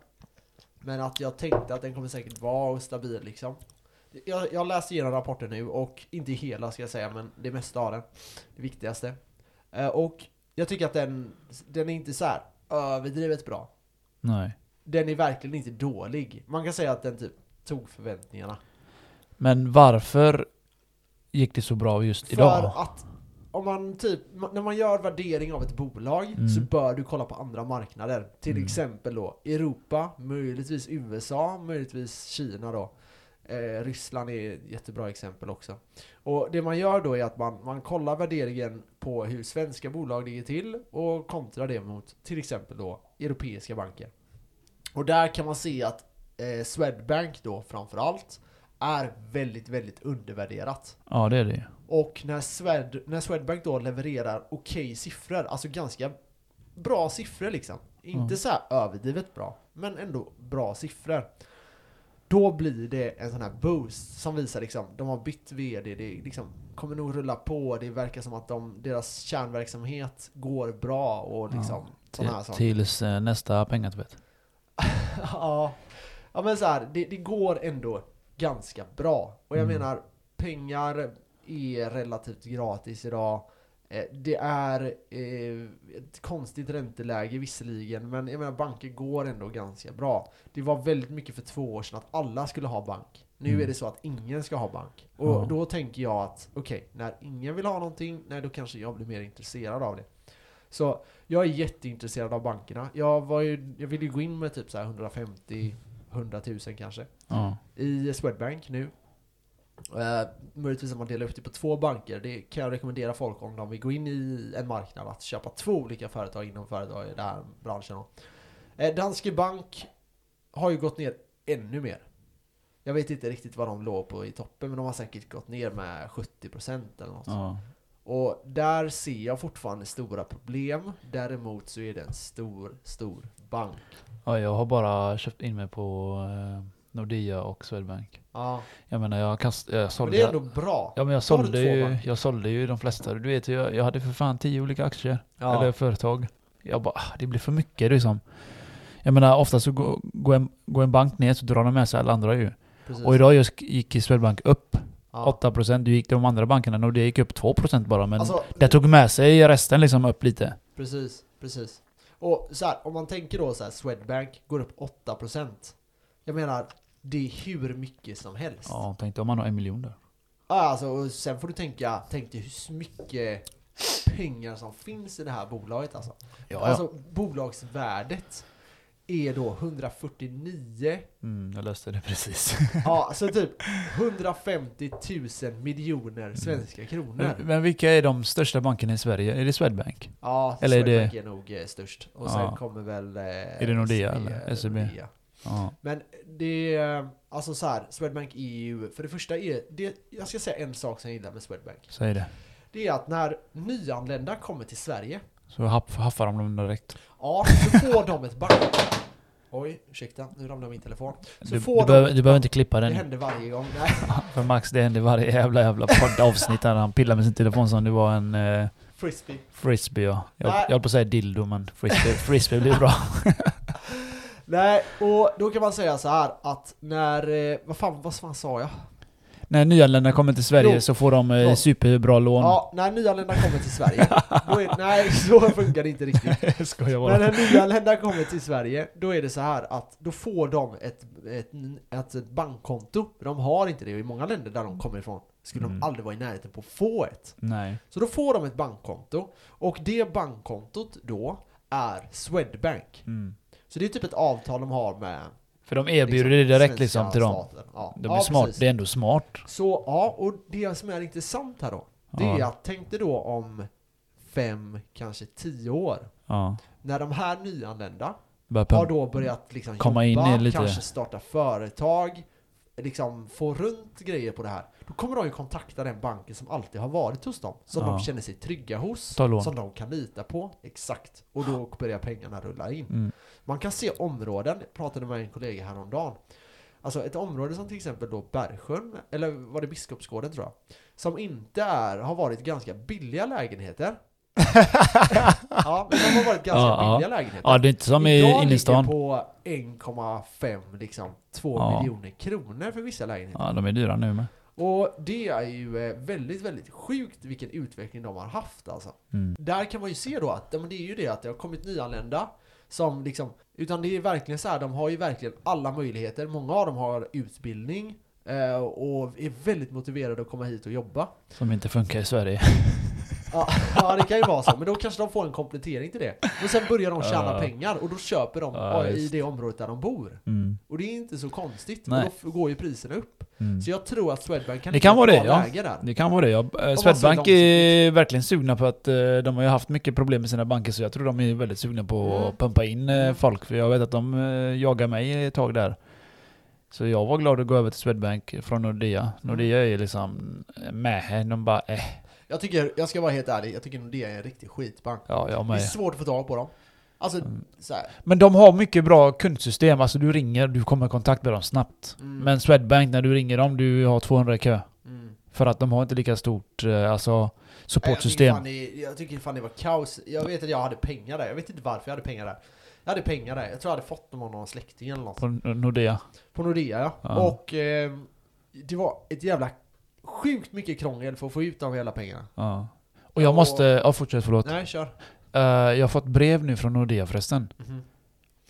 [SPEAKER 1] Men att jag tänkte att den kommer säkert vara stabil liksom. Jag, jag läste igenom rapporten nu och inte hela ska jag säga men det mesta av den. Det viktigaste. Eh, och jag tycker att den, den är inte så här överdrivet bra.
[SPEAKER 2] Nej.
[SPEAKER 1] Den är verkligen inte dålig. Man kan säga att den typ tog förväntningarna.
[SPEAKER 2] Men varför gick det så bra just idag?
[SPEAKER 1] För att om man typ, när man gör värdering av ett bolag
[SPEAKER 2] Mm.
[SPEAKER 1] så bör du kolla på andra marknader. Till
[SPEAKER 2] Mm.
[SPEAKER 1] exempel då Europa, möjligtvis USA, möjligtvis Kina då. Eh, Ryssland är ett jättebra exempel också. Och det man gör då är att man, man kollar värderingen på hur svenska bolag ligger till och kontrar det mot till exempel då europeiska banker. Och där kan man se att eh, Swedbank då framförallt är väldigt, väldigt undervärderat.
[SPEAKER 2] Ja, det är det ju.
[SPEAKER 1] Och när, Swed, när Swedbank då levererar okej siffror, alltså ganska bra siffror liksom. Inte
[SPEAKER 2] Mm.
[SPEAKER 1] så här överdrivet bra, men ändå bra siffror. Då blir det en sån här boost som visar liksom, de har bytt VD, det liksom kommer nog rulla på, det verkar som att de, deras kärnverksamhet går bra och
[SPEAKER 2] Ja,
[SPEAKER 1] liksom sådana här
[SPEAKER 2] Till,
[SPEAKER 1] saker.
[SPEAKER 2] tills eh, nästa pengatvätt.
[SPEAKER 1] ja. ja, men så här, det, det går ändå ganska bra. Och jag
[SPEAKER 2] Mm.
[SPEAKER 1] menar, pengar är relativt gratis idag. Eh, Det är eh, ett konstigt ränteläge visserligen, men jag menar banker går ändå ganska bra. Det var väldigt mycket för två år sedan att alla skulle ha bank. Nu
[SPEAKER 2] Mm.
[SPEAKER 1] är det så att ingen ska ha bank. Och
[SPEAKER 2] Ja.
[SPEAKER 1] då tänker jag att okej, när ingen vill ha någonting, nej då kanske jag blir mer intresserad av det. Så jag är jätteintresserad av bankerna. Jag, var ju, jag ville ju gå in med typ så här 150 100 000 kanske
[SPEAKER 2] Ja.
[SPEAKER 1] i Swedbank nu. Eh, möjligtvis att man delar upp det på två banker. Det kan jag rekommendera folk om de vill gå in i en marknad att köpa två olika företag inom företag i den här branschen. då. Eh, Danske Bank har ju gått ner ännu mer. Jag vet inte riktigt vad de låg på i toppen men de har säkert gått ner med 70% eller något.
[SPEAKER 2] ja.
[SPEAKER 1] Och där ser jag fortfarande stora problem. Däremot så är det en stor, stor bank.
[SPEAKER 2] Ja, jag har bara köpt in mig på eh, Nordea och Swedbank.
[SPEAKER 1] Ja,
[SPEAKER 2] Jag menar jag, kast, jag
[SPEAKER 1] men
[SPEAKER 2] sålde...
[SPEAKER 1] det är ändå bra.
[SPEAKER 2] Ja men jag
[SPEAKER 1] Då har du
[SPEAKER 2] sålde,
[SPEAKER 1] två
[SPEAKER 2] ju,
[SPEAKER 1] banker.
[SPEAKER 2] jag sålde ju de flesta. Du vet ju, jag, jag hade för fan tio olika aktier.
[SPEAKER 1] Ja.
[SPEAKER 2] Eller företag. Jag bara, ah, det blir för mycket liksom. Jag menar ofta så går, går, en, går en bank ner så drar de med sig alla andra ju.
[SPEAKER 1] Precis.
[SPEAKER 2] Och idag just gick Swedbank upp
[SPEAKER 1] Mm. ja.
[SPEAKER 2] 8%. Du gick de andra bankerna och det gick upp 2% bara. Men
[SPEAKER 1] Alltså,
[SPEAKER 2] det tog med sig resten liksom upp lite.
[SPEAKER 1] precis, precis. Och så här, om man tänker då så här, Swedbank går upp 8%. Jag menar, det är hur mycket som helst.
[SPEAKER 2] Ja, tänk dig om man har en miljon där.
[SPEAKER 1] Ja, Alltså, och sen får du tänka, tänk dig hur mycket pengar som finns i det här bolaget alltså.
[SPEAKER 2] Ja,
[SPEAKER 1] Alltså bolagsvärdet är då 149,
[SPEAKER 2] Mm, jag löste det precis.
[SPEAKER 1] ja så typ 150 000 miljoner svenska
[SPEAKER 2] Men,
[SPEAKER 1] kronor.
[SPEAKER 2] men vilka är de största bankerna i Sverige? Är det Swedbank?
[SPEAKER 1] Ja,
[SPEAKER 2] Eller är det-
[SPEAKER 1] Swedbank är nog eh, störst. Och sen
[SPEAKER 2] Ja.
[SPEAKER 1] kommer väl... Eh,
[SPEAKER 2] Är det Nordea eller E SEB?
[SPEAKER 1] Nordea.
[SPEAKER 2] Ja.
[SPEAKER 1] Men det, eh, alltså så här, Swedbank är ju, för det första är, det, jag ska säga en sak som jag gillar med Swedbank.
[SPEAKER 2] Säg det.
[SPEAKER 1] Det är att när nyanlända kommer till Sverige,
[SPEAKER 2] Så haff, haffar de dem direkt.
[SPEAKER 1] ja, så får de ett bank... Oj, ursäkta, nu ramlade min telefon. Så
[SPEAKER 2] Du,
[SPEAKER 1] får
[SPEAKER 2] du,
[SPEAKER 1] de-
[SPEAKER 2] behöver, du behöver inte klippa den.
[SPEAKER 1] Det händer varje gång. Nej.
[SPEAKER 2] För Max, det händer i varje jävla jävla poddavsnitt där han pillar med sin telefon som det var en eh,
[SPEAKER 1] Frisbee.
[SPEAKER 2] frisbee ja. Jag,
[SPEAKER 1] Nej.
[SPEAKER 2] jag höll på att säga dildo men frisbee, frisbee blir bra.
[SPEAKER 1] Nej, och då kan man säga så här att när, eh, vad fan, vad fan sa jag?
[SPEAKER 2] När nyanlända kommer till Sverige
[SPEAKER 1] Jo.
[SPEAKER 2] så får de eh,
[SPEAKER 1] Ja.
[SPEAKER 2] superbra lån.
[SPEAKER 1] Ja, när nyanlända kommer till Sverige, då är, nej så funkar det inte riktigt.
[SPEAKER 2] Jag skojar
[SPEAKER 1] Men
[SPEAKER 2] bara.
[SPEAKER 1] när nyanlända kommer till Sverige, då är det så här att då får de ett, ett, ett, ett bankkonto. De har inte det, och i många länder där de kommer ifrån skulle
[SPEAKER 2] Mm.
[SPEAKER 1] de aldrig vara i närheten på att få ett.
[SPEAKER 2] Nej.
[SPEAKER 1] Så då får de ett bankkonto, och det bankkontot då är Swedbank.
[SPEAKER 2] Mm.
[SPEAKER 1] Så det är typ ett avtal de har med
[SPEAKER 2] För de erbjuder det
[SPEAKER 1] liksom,
[SPEAKER 2] direkt liksom
[SPEAKER 1] svenska
[SPEAKER 2] till dem.
[SPEAKER 1] staten. Ja.
[SPEAKER 2] De är
[SPEAKER 1] Ja,
[SPEAKER 2] smart.
[SPEAKER 1] precis.
[SPEAKER 2] Det är ändå smart.
[SPEAKER 1] Så ja, och det som är intressant här då, det
[SPEAKER 2] Ja.
[SPEAKER 1] är att tänk dig då om fem, kanske tio år,
[SPEAKER 2] Ja.
[SPEAKER 1] när de här nyanlända
[SPEAKER 2] Börjar
[SPEAKER 1] har
[SPEAKER 2] pumpa.
[SPEAKER 1] då börjat liksom
[SPEAKER 2] Komma in
[SPEAKER 1] jobba,
[SPEAKER 2] i lite-
[SPEAKER 1] kanske starta företag, liksom få runt grejer på det här. Då kommer de ju kontakta den banken som alltid har varit hos dem, som
[SPEAKER 2] Ja.
[SPEAKER 1] de känner sig trygga hos,
[SPEAKER 2] Ta lån.
[SPEAKER 1] som de kan lita på. Exakt. Och då börjar pengarna rulla in.
[SPEAKER 2] Mm.
[SPEAKER 1] Man kan se områden, jag pratade med en kollega häromdagen. Alltså ett område som till exempel då Bergsjön, eller var det Biskopsgården tror jag, som inte är, har varit ganska billiga lägenheter. ja, men de har varit ganska
[SPEAKER 2] Ja, ja.
[SPEAKER 1] billiga lägenheter.
[SPEAKER 2] Ja, det är inte som i
[SPEAKER 1] Idag
[SPEAKER 2] innerstan.
[SPEAKER 1] ligger på 1,5 liksom, 2
[SPEAKER 2] Ja.
[SPEAKER 1] miljoner kronor för vissa lägenheter.
[SPEAKER 2] Ja, de är dyra nu med.
[SPEAKER 1] Och det är ju eh, väldigt, väldigt sjukt vilken utveckling de har haft alltså.
[SPEAKER 2] Mm.
[SPEAKER 1] Där kan man ju se då att ja, men det är ju det att det har kommit nyanlända som liksom, utan det är verkligen så här, de har ju verkligen alla möjligheter. Många av dem har utbildning eh, och är väldigt motiverade att komma hit och jobba.
[SPEAKER 2] Som inte funkar i Sverige.
[SPEAKER 1] Ja, ja, det kan ju vara så, men då kanske de får en komplettering till det. Och sen börjar de tjäna
[SPEAKER 2] Ja.
[SPEAKER 1] pengar och då köper de
[SPEAKER 2] Ja,
[SPEAKER 1] eh, i
[SPEAKER 2] just.
[SPEAKER 1] det området där de bor.
[SPEAKER 2] Mm.
[SPEAKER 1] Och det är inte så konstigt,
[SPEAKER 2] Nej.
[SPEAKER 1] och då f- går ju priserna upp.
[SPEAKER 2] Mm.
[SPEAKER 1] Så jag tror att Swedbank kan
[SPEAKER 2] Det kan
[SPEAKER 1] hitta
[SPEAKER 2] vara
[SPEAKER 1] ett
[SPEAKER 2] det,
[SPEAKER 1] bra
[SPEAKER 2] ja.
[SPEAKER 1] läge där.
[SPEAKER 2] Det kan vara det. Jag, eh,
[SPEAKER 1] man
[SPEAKER 2] Swedbank
[SPEAKER 1] ser
[SPEAKER 2] är verkligen sugna på att eh, de har ju haft mycket problem med sina banker så jag tror de är väldigt sugna på
[SPEAKER 1] Mm.
[SPEAKER 2] att pumpa in eh,
[SPEAKER 1] Mm.
[SPEAKER 2] folk. För jag vet att de eh, jagar mig ett tag där. Så jag var glad att gå över till Swedbank från Nordea. Nordea är liksom eh, mähä. De bara eh,
[SPEAKER 1] Jag tycker, jag ska vara helt ärlig, jag tycker nog det är en riktig skitbank.
[SPEAKER 2] ja Mm. jag
[SPEAKER 1] Det är
[SPEAKER 2] med.
[SPEAKER 1] svårt att få tag på dem. Alltså, så här.
[SPEAKER 2] Men de har mycket bra kundsystem. Alltså du ringer, du kommer i kontakt med dem snabbt.
[SPEAKER 1] Mm,
[SPEAKER 2] Men Swedbank, när du ringer dem, du har 200 i kö.
[SPEAKER 1] mm.
[SPEAKER 2] För att de har inte lika stort eh, alltså,
[SPEAKER 1] Nej, Jag tycker,
[SPEAKER 2] supportsystem.
[SPEAKER 1] fan det, jag tycker fan det var kaos. Jag vet att jag hade pengar där, jag vet inte varför jag hade pengar där. Jag hade pengar där, jag tror jag hade fått dem av någon släkting eller något.
[SPEAKER 2] På Nordea.
[SPEAKER 1] På Nordea ja.
[SPEAKER 2] Ja.
[SPEAKER 1] Och ehm, det var ett jävla sjukt mycket krångel för att få ut de jävla pengarna.
[SPEAKER 2] Ja. Och jag måste... Ja, fortsätt förlåt.
[SPEAKER 1] Nej, kör. Mhm.
[SPEAKER 2] Eh, jag har fått brev nu från Nordea förresten.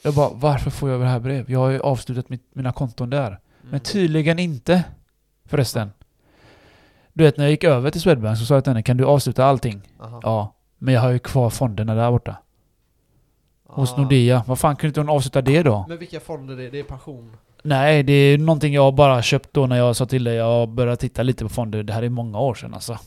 [SPEAKER 2] Jag bara, varför får jag det här brev? Jag har ju avslutat mitt, mina konton där.
[SPEAKER 1] Mm.
[SPEAKER 2] Men typ tydligen inte. Förresten. Du vet när jag gick över till Swedbank så sa jag till henne, kan du avsluta allting?
[SPEAKER 1] Aha.
[SPEAKER 2] Ja. Men jag har ju kvar fonderna där borta. Hos
[SPEAKER 1] Ah.
[SPEAKER 2] Nordea. Vad fan kunde inte hon avsluta det då?
[SPEAKER 1] Men vilka fonder det är? Det är pension.
[SPEAKER 2] Nej, det är någonting jag bara köpt då när jag sa till dig. Jag började titta lite på fonder. Det här är många år sedan alltså.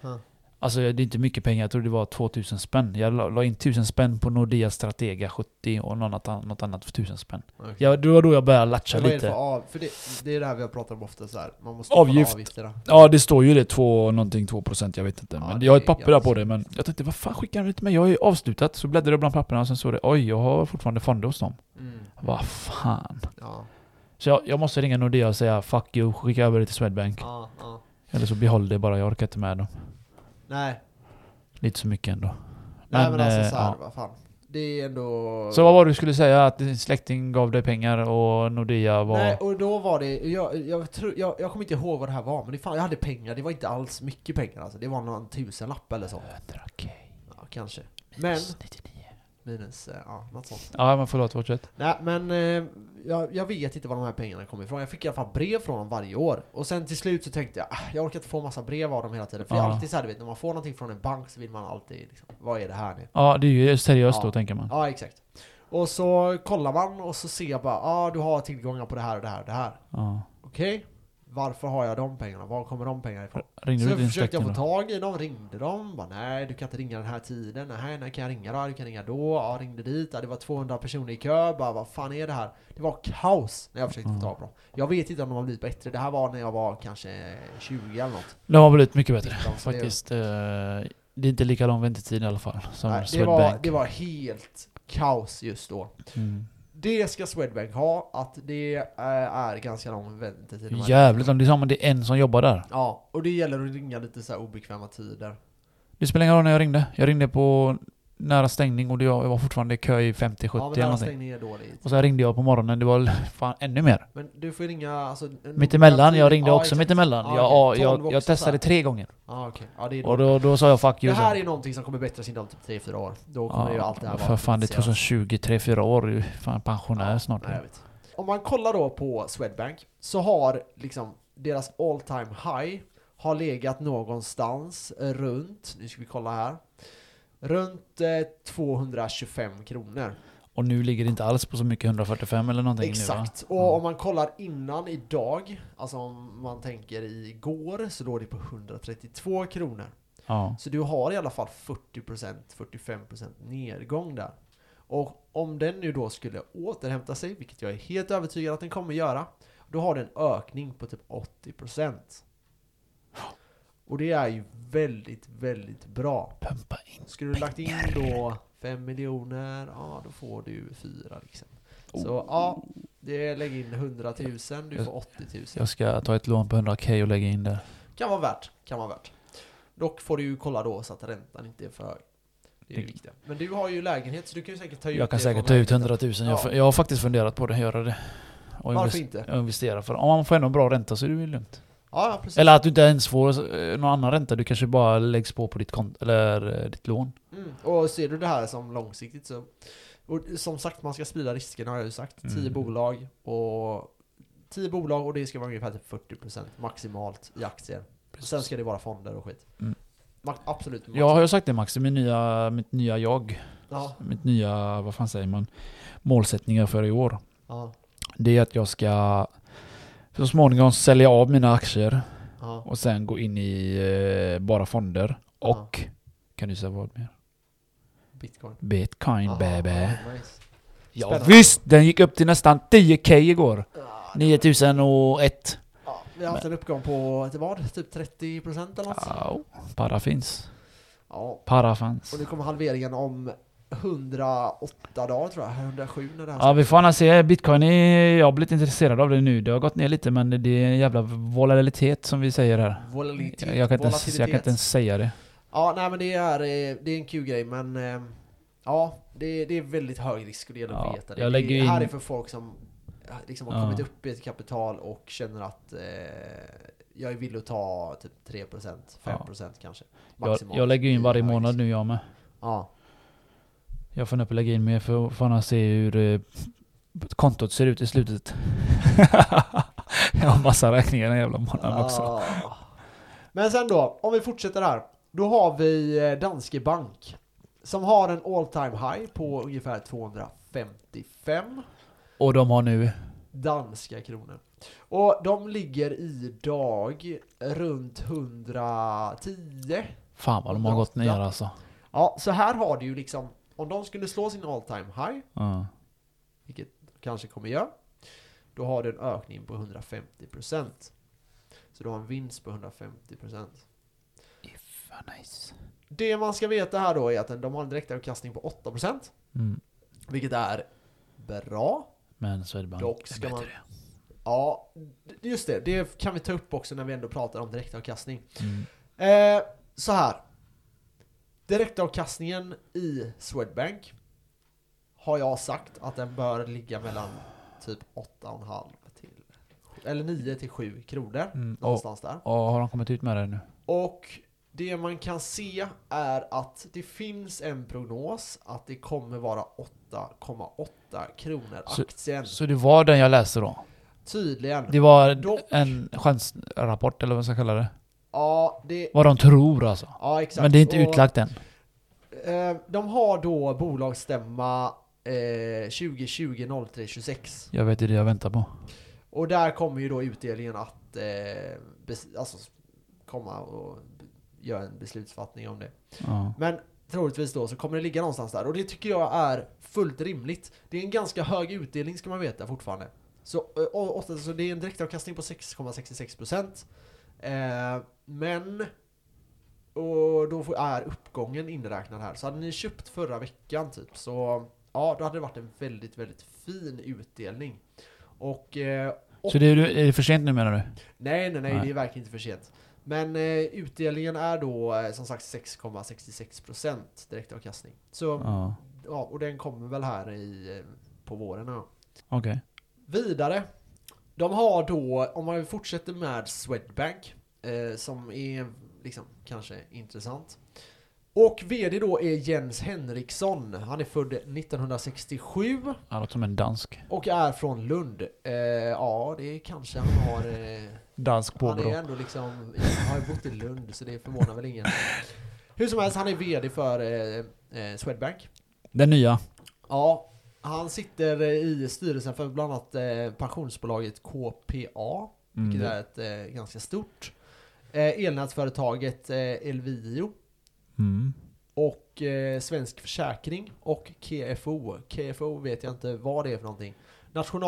[SPEAKER 1] Ja.
[SPEAKER 2] Alltså det är inte mycket pengar, jag tror det var 2000 spänn. Jag la, la in 1000 spänn på Nordea Stratega 70 och något annat, något annat för 1000 spänn.
[SPEAKER 1] Okej.
[SPEAKER 2] Ja, det var då jag började latcha
[SPEAKER 1] Men vad är det för
[SPEAKER 2] lite.
[SPEAKER 1] av, för det, det är det här vi har pratat om ofta så här. man måste kolla
[SPEAKER 2] Avgift.
[SPEAKER 1] avgifterna.
[SPEAKER 2] Ja det står ju det, 2, någonting 2% jag vet inte.
[SPEAKER 1] Ja,
[SPEAKER 2] Men
[SPEAKER 1] det
[SPEAKER 2] jag har ett
[SPEAKER 1] är
[SPEAKER 2] papper där
[SPEAKER 1] ganska-
[SPEAKER 2] på det men jag tänkte vad fan skickar han till mig? Jag har ju avslutat. Så bläddrade jag bland papperna och sen såg det oj jag har fortfarande fonder hos dem.
[SPEAKER 1] Mm.
[SPEAKER 2] Vad fan.
[SPEAKER 1] Ja.
[SPEAKER 2] Så jag, jag måste ringa Nordea och säga fuck you, skicka över det till Swedbank.
[SPEAKER 1] Ja, ja.
[SPEAKER 2] Eller så behåll det bara, jag orkar inte med dem.
[SPEAKER 1] Nej.
[SPEAKER 2] Lite så mycket ändå.
[SPEAKER 1] Nej men alltså
[SPEAKER 2] eh,
[SPEAKER 1] så här,
[SPEAKER 2] ja.
[SPEAKER 1] vad fan. Det är ändå...
[SPEAKER 2] Så vad var det du skulle säga? Att din släkting gav dig pengar och Nordea var...
[SPEAKER 1] Nej, och då var det, jag, jag, tror, jag, jag kommer inte ihåg vad det här var, men det fan, jag hade pengar, det var inte alls mycket pengar alltså. Det var någon tusenlapp eller så.
[SPEAKER 2] 100k.
[SPEAKER 1] Ja, kanske. Men,
[SPEAKER 2] 99.
[SPEAKER 1] minus, eh, ja, något sånt.
[SPEAKER 2] Ja men förlåt, fortsätt.
[SPEAKER 1] Nej, men eh, jag, jag vet inte var de här pengarna kom ifrån. Jag fick i alla fall brev från dem varje år. Och sen till slut så tänkte jag, ah, jag orkar inte få massa brev av dem hela tiden. För det är
[SPEAKER 2] Ja.
[SPEAKER 1] alltid så här, du vet, när man får någonting från en bank så vill man alltid, liksom, vad är det här nu?
[SPEAKER 2] Ja det är ju seriöst
[SPEAKER 1] Ja.
[SPEAKER 2] då tänker man.
[SPEAKER 1] Ja, exakt. Och så kollar man och så ser jag bara, ah, du har tillgångar på det här och det här och det här.
[SPEAKER 2] Ja.
[SPEAKER 1] Okej, varför har jag de pengarna? Var kommer de pengarna ifrån?
[SPEAKER 2] Ringde
[SPEAKER 1] så
[SPEAKER 2] du din
[SPEAKER 1] försökte jag
[SPEAKER 2] släkting
[SPEAKER 1] få
[SPEAKER 2] då?
[SPEAKER 1] tag i dem, ringde dem, bara nej du kan inte ringa den här tiden, nej när kan jag ringa då, du kan ringa då, ja ringde dit, ja, det var 200 personer i kö, bara vad fan är det här? Det var kaos när jag försökte
[SPEAKER 2] Mm.
[SPEAKER 1] få tag på dem. Jag vet inte om de har blivit bättre, det här var när jag var kanske 20 eller något.
[SPEAKER 2] De har blivit mycket bättre
[SPEAKER 1] Nitton, så det-
[SPEAKER 2] faktiskt. eh, Det är inte lika lång väntetid i alla fall som
[SPEAKER 1] Nej, det, var,
[SPEAKER 2] Swedbank.
[SPEAKER 1] det var helt kaos just då.
[SPEAKER 2] Mm.
[SPEAKER 1] Det ska Swedbank ha, att det eh, är ganska lång väntetid. när man-
[SPEAKER 2] Jävligt långt, det är som om det är en som jobbar där.
[SPEAKER 1] Ja, och det gäller att ringa lite så här obekväma tider.
[SPEAKER 2] Det spelar ingen roll när jag ringde. Jag ringde på nära stängning och det var- jag var fortfarande i kö i
[SPEAKER 1] Ja,
[SPEAKER 2] 50-70
[SPEAKER 1] men
[SPEAKER 2] eller
[SPEAKER 1] deras
[SPEAKER 2] någonting.
[SPEAKER 1] stängning är dålig.
[SPEAKER 2] Och sen ringde jag på morgonen, det var fan ännu mer.
[SPEAKER 1] Men du får ringa alltså,
[SPEAKER 2] Mittemellan, jag ringde också
[SPEAKER 1] exakt.
[SPEAKER 2] mittemellan.
[SPEAKER 1] Ja,
[SPEAKER 2] jag,
[SPEAKER 1] okej. Tolv
[SPEAKER 2] jag,
[SPEAKER 1] också
[SPEAKER 2] jag
[SPEAKER 1] så här.
[SPEAKER 2] testade tre gånger.
[SPEAKER 1] Ja, okej. Ja, det är
[SPEAKER 2] Och
[SPEAKER 1] dåligt.
[SPEAKER 2] då, då sa jag fuck
[SPEAKER 1] Det
[SPEAKER 2] you.
[SPEAKER 1] här
[SPEAKER 2] sen.
[SPEAKER 1] är någonting som kommer bättras inom typ 3-4 år. Då kommer ju allt det här
[SPEAKER 2] För fan, det är
[SPEAKER 1] kritiserat.
[SPEAKER 2] 2020, 3-4 år. Du är Fan, pensionär snart.
[SPEAKER 1] Nej, jag vet. Om man kollar då på Swedbank så har liksom deras all time high har legat någonstans runt, nu ska vi kolla här, runt eh, 225 kronor.
[SPEAKER 2] Och nu ligger det inte alls på så mycket, 145 eller någonting nu va?
[SPEAKER 1] Exakt. Och
[SPEAKER 2] Ja.
[SPEAKER 1] om man kollar innan idag, alltså om man tänker igår, så låg det på 132 kronor.
[SPEAKER 2] Ja.
[SPEAKER 1] Så du har i alla fall 40%, 45% nedgång där. Och om den nu då skulle återhämta sig, vilket jag är helt övertygad att den kommer göra, då har den en ökning på typ 80%. Och det är ju väldigt, väldigt bra.
[SPEAKER 2] Pumpa in.
[SPEAKER 1] Skulle du lagt in då 5 miljoner, ja då får du 4 liksom. Så ja, det lägg in 100 000, du får 80 000.
[SPEAKER 2] Jag ska ta ett lån på 100k och lägga in det.
[SPEAKER 1] Kan vara värt, kan vara värt. Dock får du ju kolla då så att räntan inte är för hög. Det är ju
[SPEAKER 2] Det-
[SPEAKER 1] viktigt. Men du har ju lägenhet så du kan ju säkert ta ut
[SPEAKER 2] Jag kan
[SPEAKER 1] det
[SPEAKER 2] säkert ta
[SPEAKER 1] från
[SPEAKER 2] ut
[SPEAKER 1] lägenheten.
[SPEAKER 2] 100 000. Jag,
[SPEAKER 1] Ja.
[SPEAKER 2] får- jag har faktiskt funderat på det, göra det. Och
[SPEAKER 1] Varför
[SPEAKER 2] investera.
[SPEAKER 1] inte?
[SPEAKER 2] Jag investerar för om man får ändå bra ränta så är det ju lugnt.
[SPEAKER 1] Ja, ja, precis.
[SPEAKER 2] Eller att du inte ens får eh, någon annan ränta, du kanske bara läggs på på ditt konto, eller eh, ditt lån.
[SPEAKER 1] Mm. Och ser du det här som långsiktigt så... Och som sagt, man ska sprida riskerna har jag ju sagt. 10
[SPEAKER 2] Mm.
[SPEAKER 1] bolag och... 10 bolag och det ska vara ungefär typ 40% maximalt i aktier. Och sen ska det vara fonder och skit.
[SPEAKER 2] Mm.
[SPEAKER 1] Ma- absolut
[SPEAKER 2] Jag har ju sagt det Max, det är min nya, mitt nya jag.
[SPEAKER 1] Ja,
[SPEAKER 2] Mitt nya, vad fan säger man, målsättningar för i år.
[SPEAKER 1] ja,
[SPEAKER 2] Det är att jag ska så småningom sälja av mina aktier
[SPEAKER 1] ja.
[SPEAKER 2] och sen gå in i eh, bara fonder. Och, kan du säga vad mer?
[SPEAKER 1] Bitcoin.
[SPEAKER 2] Bitcoin
[SPEAKER 1] Aha,
[SPEAKER 2] baby.
[SPEAKER 1] ja, nice.
[SPEAKER 2] Ja,
[SPEAKER 1] Spännande.
[SPEAKER 2] visst, den gick upp till nästan 10k igår.
[SPEAKER 1] Ja,
[SPEAKER 2] 9001.
[SPEAKER 1] Ja, vi har haft en uppgång på, till vad? Typ 30% eller något? Ja.
[SPEAKER 2] Ja, para finns. Para fanns.
[SPEAKER 1] Och nu kommer halveringen om 108 dagar tror jag, 107 när det här
[SPEAKER 2] Ja, vi får gärna se. Bitcoin är... Jag har blivit intresserad av det nu. Det har gått ner lite, men det är en jävla volatilitet som vi säger här.
[SPEAKER 1] Volatilitet.
[SPEAKER 2] Jag kan inte, ens, jag kan inte ens säga det.
[SPEAKER 1] Ja, nej men det är, eh, det är en kul grej men eh, ja, det, det är väldigt hög risk och det gäller att
[SPEAKER 2] Ja,
[SPEAKER 1] veta det.
[SPEAKER 2] jag lägger
[SPEAKER 1] det här
[SPEAKER 2] in-
[SPEAKER 1] är för folk som eh, liksom har
[SPEAKER 2] Ja.
[SPEAKER 1] kommit upp i ett kapital och känner att eh, jag är villig att ta typ 3%, 5% kanske.
[SPEAKER 2] Jag,
[SPEAKER 1] Maximalt.
[SPEAKER 2] jag lägger ju in varje
[SPEAKER 1] Hög
[SPEAKER 2] månad
[SPEAKER 1] risk.
[SPEAKER 2] nu jag med.
[SPEAKER 1] Ja,
[SPEAKER 2] Jag funderar på att lägga in mer för att få gärna se hur eh, kontot ser ut i slutet. jag har massa räkningar den jävla månaden också.
[SPEAKER 1] Ah. Men sen då, om vi fortsätter här. Då har vi eh, Danske Bank. Som har en all time high på ungefär 255
[SPEAKER 2] Och de har nu...
[SPEAKER 1] danska kronor. Och de ligger idag runt 110
[SPEAKER 2] Fan vad de har gått ner
[SPEAKER 1] Ja.
[SPEAKER 2] alltså.
[SPEAKER 1] Ja, så här har du ju liksom, om de skulle slå sin all time high,
[SPEAKER 2] Ja.
[SPEAKER 1] vilket de kanske kommer göra, då har du en ökning på 150%. Så du har en vinst på 150%.
[SPEAKER 2] If nice.
[SPEAKER 1] Det man ska veta här då är att de har en direktavkastning på 8%,
[SPEAKER 2] Mm.
[SPEAKER 1] vilket är bra.
[SPEAKER 2] Men Swedbank
[SPEAKER 1] Dock
[SPEAKER 2] är
[SPEAKER 1] ska
[SPEAKER 2] bättre.
[SPEAKER 1] man- Ja, d- just det. Det kan vi ta upp också när vi ändå pratar om direktavkastning.
[SPEAKER 2] Mm.
[SPEAKER 1] Eh, så här. Direktavkastningen i Swedbank har jag sagt att den bör ligga mellan typ 8,5 till eller 9 till 7 kronor.
[SPEAKER 2] Mm. Och,
[SPEAKER 1] Någonstans där.
[SPEAKER 2] och har de kommit ut med det nu?
[SPEAKER 1] Och det man kan se är att det finns en prognos att det kommer vara 8,8 kronor
[SPEAKER 2] Så-
[SPEAKER 1] aktien.
[SPEAKER 2] Så det var den jag läste då?
[SPEAKER 1] Tydligen.
[SPEAKER 2] Det var
[SPEAKER 1] Dock-
[SPEAKER 2] en chansrapport eller vad man ska kalla det?
[SPEAKER 1] Ja, det...
[SPEAKER 2] Vad de tror alltså.
[SPEAKER 1] Ja, exakt.
[SPEAKER 2] Men det är inte
[SPEAKER 1] Och-
[SPEAKER 2] utlagt än.
[SPEAKER 1] Eh, de har då bolagsstämma eh, 2020-03-26.
[SPEAKER 2] Jag vet det är det jag väntar på.
[SPEAKER 1] Och där kommer ju då utdelningen att eh, bes- alltså, komma och b- göra en beslutsfattning om det.
[SPEAKER 2] Ja.
[SPEAKER 1] Men troligtvis då så kommer det ligga någonstans där. Och det tycker jag är fullt rimligt. Det är en ganska hög utdelning ska man veta fortfarande. Så, eh, och, åtta- så det är en direktavkastning på 6,66%. Eh, men... Och då får- är uppgången inräknad här. Så hade ni köpt förra veckan typ så... Ja, då hade det varit en väldigt, väldigt fin utdelning. Och... Eh,
[SPEAKER 2] Så det är, är det för sent nu menar du?
[SPEAKER 1] Nej, nej, nej,
[SPEAKER 2] Nej.
[SPEAKER 1] det är verkligen inte för sent. Men eh, utdelningen är då eh, som sagt 6,66% direktavkastning. Så, ja.
[SPEAKER 2] Ja.
[SPEAKER 1] och den kommer väl här i, eh, på våren. Ja.
[SPEAKER 2] Okej.
[SPEAKER 1] Vidare. De har då, om man fortsätter med Swedbank, eh, som är liksom kanske intressant. Och VD då är Jens Henriksson. Han är född 1967
[SPEAKER 2] Han låter som en dansk.
[SPEAKER 1] och är från Lund. Eh, ja, det kanske han har eh,
[SPEAKER 2] Dansk
[SPEAKER 1] han är ju ändå liksom, han har ju bott i Lund så det förvånar väl ingen. Hur som helst, han är VD för eh, eh, Swedbank.
[SPEAKER 2] Den nya.
[SPEAKER 1] Ja, han sitter eh, i styrelsen för bland annat eh, pensionsbolaget KPA, vilket
[SPEAKER 2] Mm.
[SPEAKER 1] är ett eh, ganska stort. Eh, elnätsföretaget eh, Elvio
[SPEAKER 2] Mm.
[SPEAKER 1] och eh, Svensk Försäkring och KFO. KFO vet jag inte vad det är för någonting.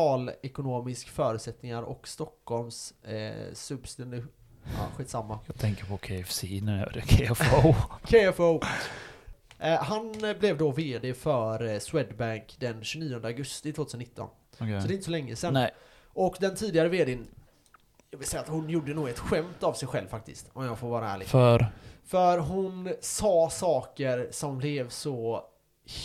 [SPEAKER 1] Nationalekonomisk förutsättningar och Stockholms eh, substinu... Ja, skitsamma.
[SPEAKER 2] Jag tänker på KFC när jag hörde KFO.
[SPEAKER 1] KFO. Eh, han blev då VD för eh, Swedbank den 29 augusti 2019.
[SPEAKER 2] Okej.
[SPEAKER 1] Så det är inte så länge sedan.
[SPEAKER 2] Nej.
[SPEAKER 1] Och den tidigare VDn, jag vill säga att hon gjorde nog ett skämt av sig själv faktiskt, om jag får vara ärlig.
[SPEAKER 2] För...
[SPEAKER 1] För hon sa saker som blev så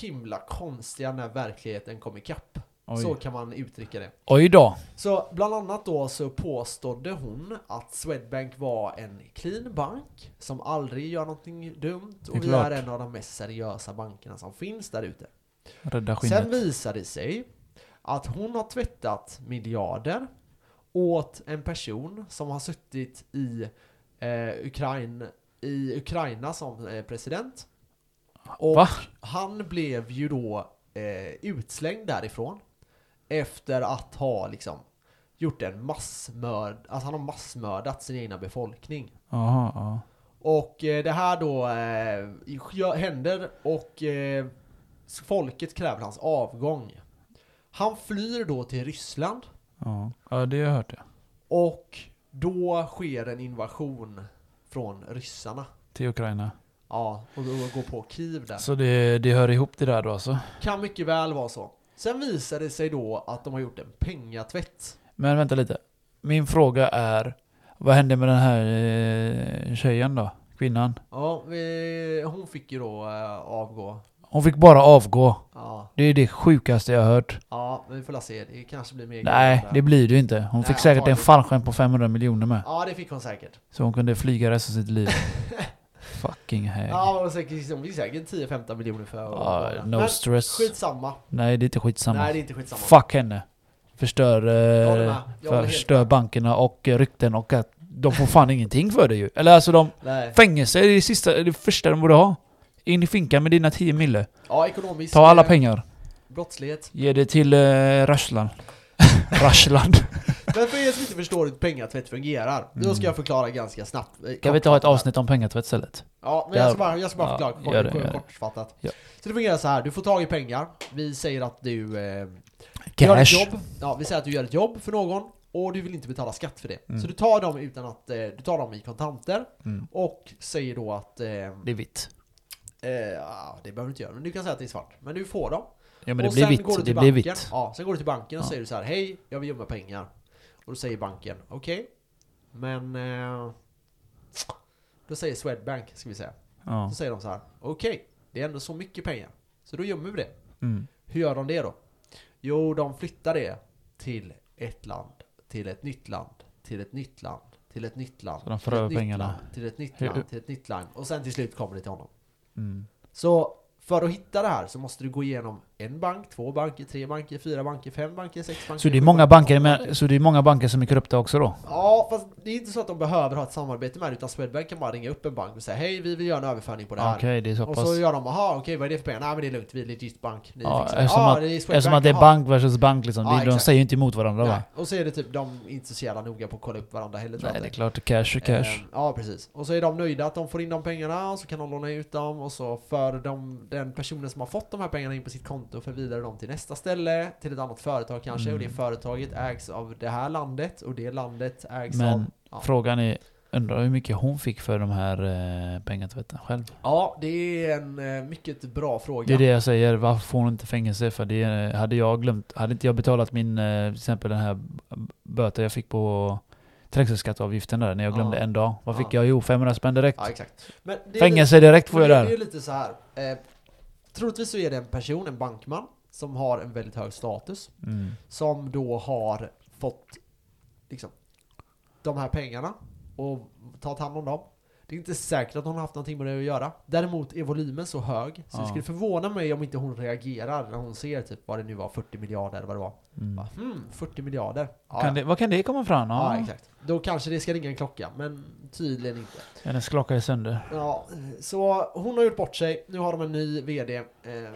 [SPEAKER 1] himla konstiga när verkligheten kom ikapp. Så
[SPEAKER 2] Oj.
[SPEAKER 1] kan man uttrycka det.
[SPEAKER 2] Oj då.
[SPEAKER 1] Så bland annat då så påstådde hon att Swedbank var en clean bank som aldrig gör någonting dumt
[SPEAKER 2] Det är
[SPEAKER 1] och vi
[SPEAKER 2] klart.
[SPEAKER 1] är en av de mest seriösa bankerna som finns där ute.
[SPEAKER 2] Rädda skinnet.
[SPEAKER 1] Sen visade det sig att hon har tvättat miljarder åt en person som har suttit i, eh, Ukraina, i Ukraina som eh, president. Och
[SPEAKER 2] Va?
[SPEAKER 1] han blev ju då eh, utslängd därifrån efter att ha liksom gjort en massmörd, att han har massmördat sin egna befolkning.
[SPEAKER 2] Jaha, ja.
[SPEAKER 1] Och eh, det här då eh, gör- händer och eh, folket kräver hans avgång. Han flyr då till Ryssland
[SPEAKER 2] Ja, ja det har jag hört ja.
[SPEAKER 1] och då sker en invasion från ryssarna.
[SPEAKER 2] Till Ukraina.
[SPEAKER 1] Ja, och då går på Kiev där.
[SPEAKER 2] Så det, det hör ihop det där då alltså.
[SPEAKER 1] Kan mycket väl vara så. Sen visar det sig då att de har gjort en pengatvätt.
[SPEAKER 2] Men vänta lite. Min fråga är, vad hände med den här eh, tjejen då? Kvinnan?
[SPEAKER 1] Ja, eh, hon fick ju då eh, avgå.
[SPEAKER 2] Hon fick bara avgå.
[SPEAKER 1] Ja,
[SPEAKER 2] Det är det sjukaste jag har hört.
[SPEAKER 1] ja, men vi får la se. Det kanske blir mer
[SPEAKER 2] Nej,
[SPEAKER 1] grejer där.
[SPEAKER 2] det blir det ju inte. Hon
[SPEAKER 1] Nej,
[SPEAKER 2] fick säkert en
[SPEAKER 1] antagligen.
[SPEAKER 2] fallskärm på 500 miljoner med.
[SPEAKER 1] Ja, det fick hon säkert.
[SPEAKER 2] Så hon kunde flyga resten av sitt liv. Fucking hell.
[SPEAKER 1] Ja, och säkert, de fick säkert 10-15 miljoner för att
[SPEAKER 2] Ja,
[SPEAKER 1] vara där.
[SPEAKER 2] no
[SPEAKER 1] Men
[SPEAKER 2] stress.
[SPEAKER 1] skitsamma.
[SPEAKER 2] Nej, det är inte skitsamma.
[SPEAKER 1] Nej, det är inte skitsamma.
[SPEAKER 2] Fuck henne. Förstör,
[SPEAKER 1] Jag håller med.
[SPEAKER 2] eh,
[SPEAKER 1] Jag håller helt
[SPEAKER 2] förstör bankerna och eh, rykten och att de får fan ingenting för det ju. Eller alltså de,
[SPEAKER 1] Nej.
[SPEAKER 2] fängelse är det, sista, det första de borde ha. In i finkan med dina 10 mille.
[SPEAKER 1] Ja, ekonomisk
[SPEAKER 2] Ta alla
[SPEAKER 1] eh,
[SPEAKER 2] pengar.
[SPEAKER 1] brottslighet.
[SPEAKER 2] Ge det till eh, Rössland. Rössland.
[SPEAKER 1] Men för er som inte förstår hur pengatvätt fungerar, då ska jag förklara ganska snabbt. eh,
[SPEAKER 2] Kan vi inte ha ett
[SPEAKER 1] kortfattat.
[SPEAKER 2] avsnitt om pengatvätt istället?
[SPEAKER 1] Ja, men jag ska bara, jag ska bara
[SPEAKER 2] Ja,
[SPEAKER 1] förklara
[SPEAKER 2] gör det,
[SPEAKER 1] kort,
[SPEAKER 2] gör det.
[SPEAKER 1] kortfattat.
[SPEAKER 2] Ja.
[SPEAKER 1] Så det fungerar så här, du får tag i pengar, vi säger att du eh, gör ett
[SPEAKER 2] Cash.
[SPEAKER 1] jobb. Ja, vi säger att du gör ett jobb för någon och du vill inte betala skatt för det.
[SPEAKER 2] Mm.
[SPEAKER 1] Så du tar dem utan att, eh, du tar dem i kontanter
[SPEAKER 2] Mm.
[SPEAKER 1] och säger då att, eh, eh,
[SPEAKER 2] Det är vitt.
[SPEAKER 1] ja, det behöver du inte göra, men du kan säga att det är svart. Men du får dem.
[SPEAKER 2] Ja men det
[SPEAKER 1] och
[SPEAKER 2] blir
[SPEAKER 1] sen går du
[SPEAKER 2] vitt.
[SPEAKER 1] till
[SPEAKER 2] Det blir
[SPEAKER 1] banken.
[SPEAKER 2] vitt.
[SPEAKER 1] Ja, sen går du till banken och
[SPEAKER 2] Ja.
[SPEAKER 1] säger du så här, hej, jag vill gömma pengar. Och då säger banken, okej, men eh, då säger Swedbank, ska vi säga.
[SPEAKER 2] Ja.
[SPEAKER 1] Så säger de så här, okej, det är ändå så mycket pengar. Så då gömmer vi det.
[SPEAKER 2] Mm.
[SPEAKER 1] Hur gör de det då? Jo, de flyttar det till ett land, till ett nytt land, till ett nytt land, till ett nytt land.
[SPEAKER 2] Så de för
[SPEAKER 1] till ett
[SPEAKER 2] över
[SPEAKER 1] nytt
[SPEAKER 2] pengarna.
[SPEAKER 1] Land, till ett nytt
[SPEAKER 2] Hur-
[SPEAKER 1] land, till ett nytt land. Och sen till slut kommer det till honom.
[SPEAKER 2] Mm.
[SPEAKER 1] Så för att hitta det här så måste du gå igenom en bank, två banker, tre banker, fyra banker, fem banker, sex banker.
[SPEAKER 2] Så det är
[SPEAKER 1] sju
[SPEAKER 2] många banker, med, så det är många banker som är korrupta också då?
[SPEAKER 1] Ja, fast det är inte så att de behöver ha ett samarbete med det, utan Swedbank kan bara ringa upp en bank och säga hej, vi vill göra en överföring på det här.
[SPEAKER 2] Okej, det är så
[SPEAKER 1] Och
[SPEAKER 2] pass.
[SPEAKER 1] så gör de, aha okej vad är det för pengar? Nej men det är lugnt, vi är legit bank. Ni
[SPEAKER 2] Ja,
[SPEAKER 1] fixar det.
[SPEAKER 2] eftersom
[SPEAKER 1] Ja,
[SPEAKER 2] att-
[SPEAKER 1] det är Swedbank,
[SPEAKER 2] Eftersom att det är
[SPEAKER 1] aha.
[SPEAKER 2] bank versus bank liksom.
[SPEAKER 1] Ja,
[SPEAKER 2] Det- de
[SPEAKER 1] exakt.
[SPEAKER 2] säger ju inte emot varandra
[SPEAKER 1] Nej.
[SPEAKER 2] va?
[SPEAKER 1] Och så är det typ, de är inte så jävla noga på att kolla upp varandra heller tror
[SPEAKER 2] Nej,
[SPEAKER 1] jag
[SPEAKER 2] det är
[SPEAKER 1] inte.
[SPEAKER 2] klart. Cash är cash.
[SPEAKER 1] Ehm, Ja precis. Och så är de nöjda att de får in de pengarna och så kan de låna ut dem och så för de, den personen som har fått de här pengarna in på sitt konto för vidare dem till nästa ställe, till ett annat företag kanske och
[SPEAKER 2] Mm.
[SPEAKER 1] det företaget ägs av det här landet och det landet ägs av...
[SPEAKER 2] Men
[SPEAKER 1] Ja.
[SPEAKER 2] frågan är, undrar hur mycket hon fick för de här eh, pengatvätten själv?
[SPEAKER 1] Ja, det är en eh, mycket bra fråga.
[SPEAKER 2] Det är det jag säger, varför får hon inte fängelse? För det eh, hade jag glömt. Hade inte jag betalat min, eh, till exempel den här b- böter jag fick på trängselskatteavgiften där, när jag
[SPEAKER 1] Ja.
[SPEAKER 2] glömde en dag. Vad fick
[SPEAKER 1] Ja.
[SPEAKER 2] jag? Jo, 500 spänn direkt.
[SPEAKER 1] Ja, exakt. Men det är lite-
[SPEAKER 2] Fängelse direkt får
[SPEAKER 1] Men
[SPEAKER 2] jag
[SPEAKER 1] det, det
[SPEAKER 2] där.
[SPEAKER 1] är lite så här. Eh, troligtvis så är det en person, en bankman, som har en väldigt hög status.
[SPEAKER 2] Mm.
[SPEAKER 1] Som då har fått liksom, de här pengarna och tagit hand om dem. Det är inte säkert att hon har haft någonting med det att göra. Däremot är volymen så hög, så det
[SPEAKER 2] Ja.
[SPEAKER 1] skulle förvåna mig om inte hon reagerar när hon ser typ vad det nu var, 40 miljarder eller vad det var.
[SPEAKER 2] Mm.
[SPEAKER 1] Bara, hmm, 40 miljarder. Ja,
[SPEAKER 2] Kan
[SPEAKER 1] ja.
[SPEAKER 2] det, vad kan det komma fram?
[SPEAKER 1] ja,
[SPEAKER 2] Ja,
[SPEAKER 1] exakt. Då kanske det ska ringa en klocka, men tydligen inte.
[SPEAKER 2] den skakade sönder.
[SPEAKER 1] Ja, så hon har gjort bort sig. Nu har de en ny VD. Eh,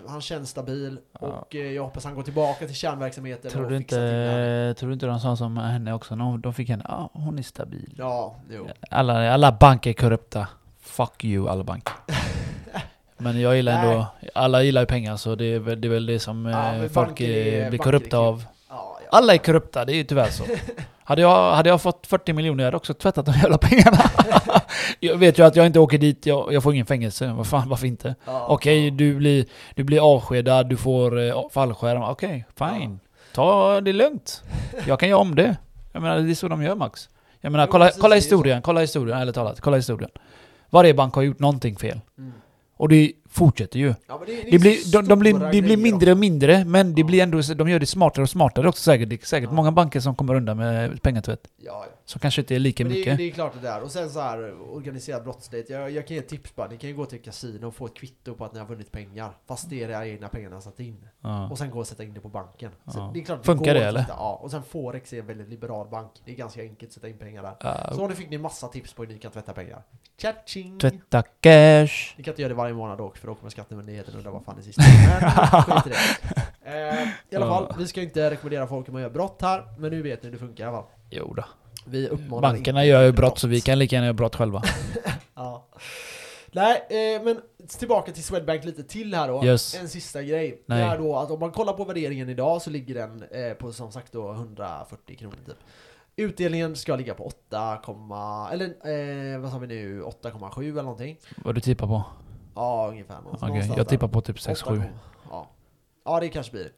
[SPEAKER 1] han känns stabil
[SPEAKER 2] Ja.
[SPEAKER 1] och eh, jag hoppas han går tillbaka till kärnverksamheten
[SPEAKER 2] Tror
[SPEAKER 1] och
[SPEAKER 2] du,
[SPEAKER 1] fixar till det här.
[SPEAKER 2] inte, tror du inte de sa som henne också? När de fick henne, ah, hon är stabil.
[SPEAKER 1] Ja, jo.
[SPEAKER 2] Alla, alla banker är korrupta. Fuck you alla banker. Men jag gillar ändå, alla gillar ju pengar så det är väl det, är väl det som
[SPEAKER 1] Ja,
[SPEAKER 2] eh,
[SPEAKER 1] men
[SPEAKER 2] folk
[SPEAKER 1] banker är-
[SPEAKER 2] eh, blir
[SPEAKER 1] banker är
[SPEAKER 2] korrupta
[SPEAKER 1] kul.
[SPEAKER 2] av.
[SPEAKER 1] Ja, ja.
[SPEAKER 2] Alla är korrupta, det är ju tyvärr så. Hade jag, hade jag fått 40 miljoner hade jag också tvättat de jävla pengarna. jag vet ju att jag inte åker dit, jag, jag får ingen fängelse. Vad fan, varför inte?
[SPEAKER 1] Ja,
[SPEAKER 2] Okej,
[SPEAKER 1] ja.
[SPEAKER 2] du, blir, du blir avskedad, du får eh, fallskärm. Okej, fine. Ta det lugnt. Jag kan göra om det. Jag menar, det är så de gör Max. Jag menar,
[SPEAKER 1] Jo,
[SPEAKER 2] kolla,
[SPEAKER 1] precis,
[SPEAKER 2] kolla
[SPEAKER 1] det är så.
[SPEAKER 2] historien, kolla historien, ärligt talat. Kolla historien. Varje bank har gjort någonting fel.
[SPEAKER 1] Mm.
[SPEAKER 2] Och det fortsätter ju.
[SPEAKER 1] Ja, men det, det är
[SPEAKER 2] Det blir, de,
[SPEAKER 1] stora
[SPEAKER 2] de blir, det
[SPEAKER 1] grejer
[SPEAKER 2] blir mindre och mindre, men det
[SPEAKER 1] Ja.
[SPEAKER 2] blir ändå, de gör det smartare och smartare också säkert. Det är säkert
[SPEAKER 1] Ja.
[SPEAKER 2] många banker som kommer undan med pengatvätt.
[SPEAKER 1] också. Ja, ja.
[SPEAKER 2] Som kanske inte är lika
[SPEAKER 1] Men det,
[SPEAKER 2] mycket.
[SPEAKER 1] det är klart det där. Och sen så här organiserad brottslighet. Jag, jag kan ge ett tips bara. Ni kan ju gå till kasino och få ett kvitto på att ni har vunnit pengar. Fast det är era egna pengar ni har satt in.
[SPEAKER 2] ja.
[SPEAKER 1] Och sen gå och sätta in det på banken. Så
[SPEAKER 2] Ja.
[SPEAKER 1] det är klart
[SPEAKER 2] Funkar
[SPEAKER 1] går
[SPEAKER 2] det,
[SPEAKER 1] att
[SPEAKER 2] eller?
[SPEAKER 1] hitta. Ja, och sen Forex är en väldigt liberal bank. Det är ganska enkelt att sätta in pengar där.
[SPEAKER 2] Ja,
[SPEAKER 1] Så nu fick ni massa tips på hur ni kan tvätta pengar. Tja-ching!
[SPEAKER 2] tvätta cash.
[SPEAKER 1] Ni kan inte göra det varje månad dock, för då kommer skattemyndigheten undra vad fan det sista Men skit i det. Eh, I alla fall, vi ska inte rekommendera folk om att göra brott här, men nu vet ni hur det funkar i alla fall.
[SPEAKER 2] Jo då.
[SPEAKER 1] Vi uppmanar
[SPEAKER 2] Bankerna
[SPEAKER 1] inte
[SPEAKER 2] gör ju
[SPEAKER 1] till
[SPEAKER 2] brott så vi kan lika gärna göra brott själva.
[SPEAKER 1] Ja. Nej, eh, men tillbaka till Swedbank lite till här då.
[SPEAKER 2] Yes.
[SPEAKER 1] En sista grej.
[SPEAKER 2] Nej.
[SPEAKER 1] Det är då att om man kollar på värderingen idag så ligger den eh, på som sagt då 140 kronor typ. Utdelningen ska ligga på 8, eller eh, vad sa vi nu, 8,7 eller någonting.
[SPEAKER 2] Vad du tippar på?
[SPEAKER 1] Ja, ungefär.
[SPEAKER 2] Okej, jag tippar på typ 6-7.
[SPEAKER 1] 6-7. Ja. ja, det kanske blir det.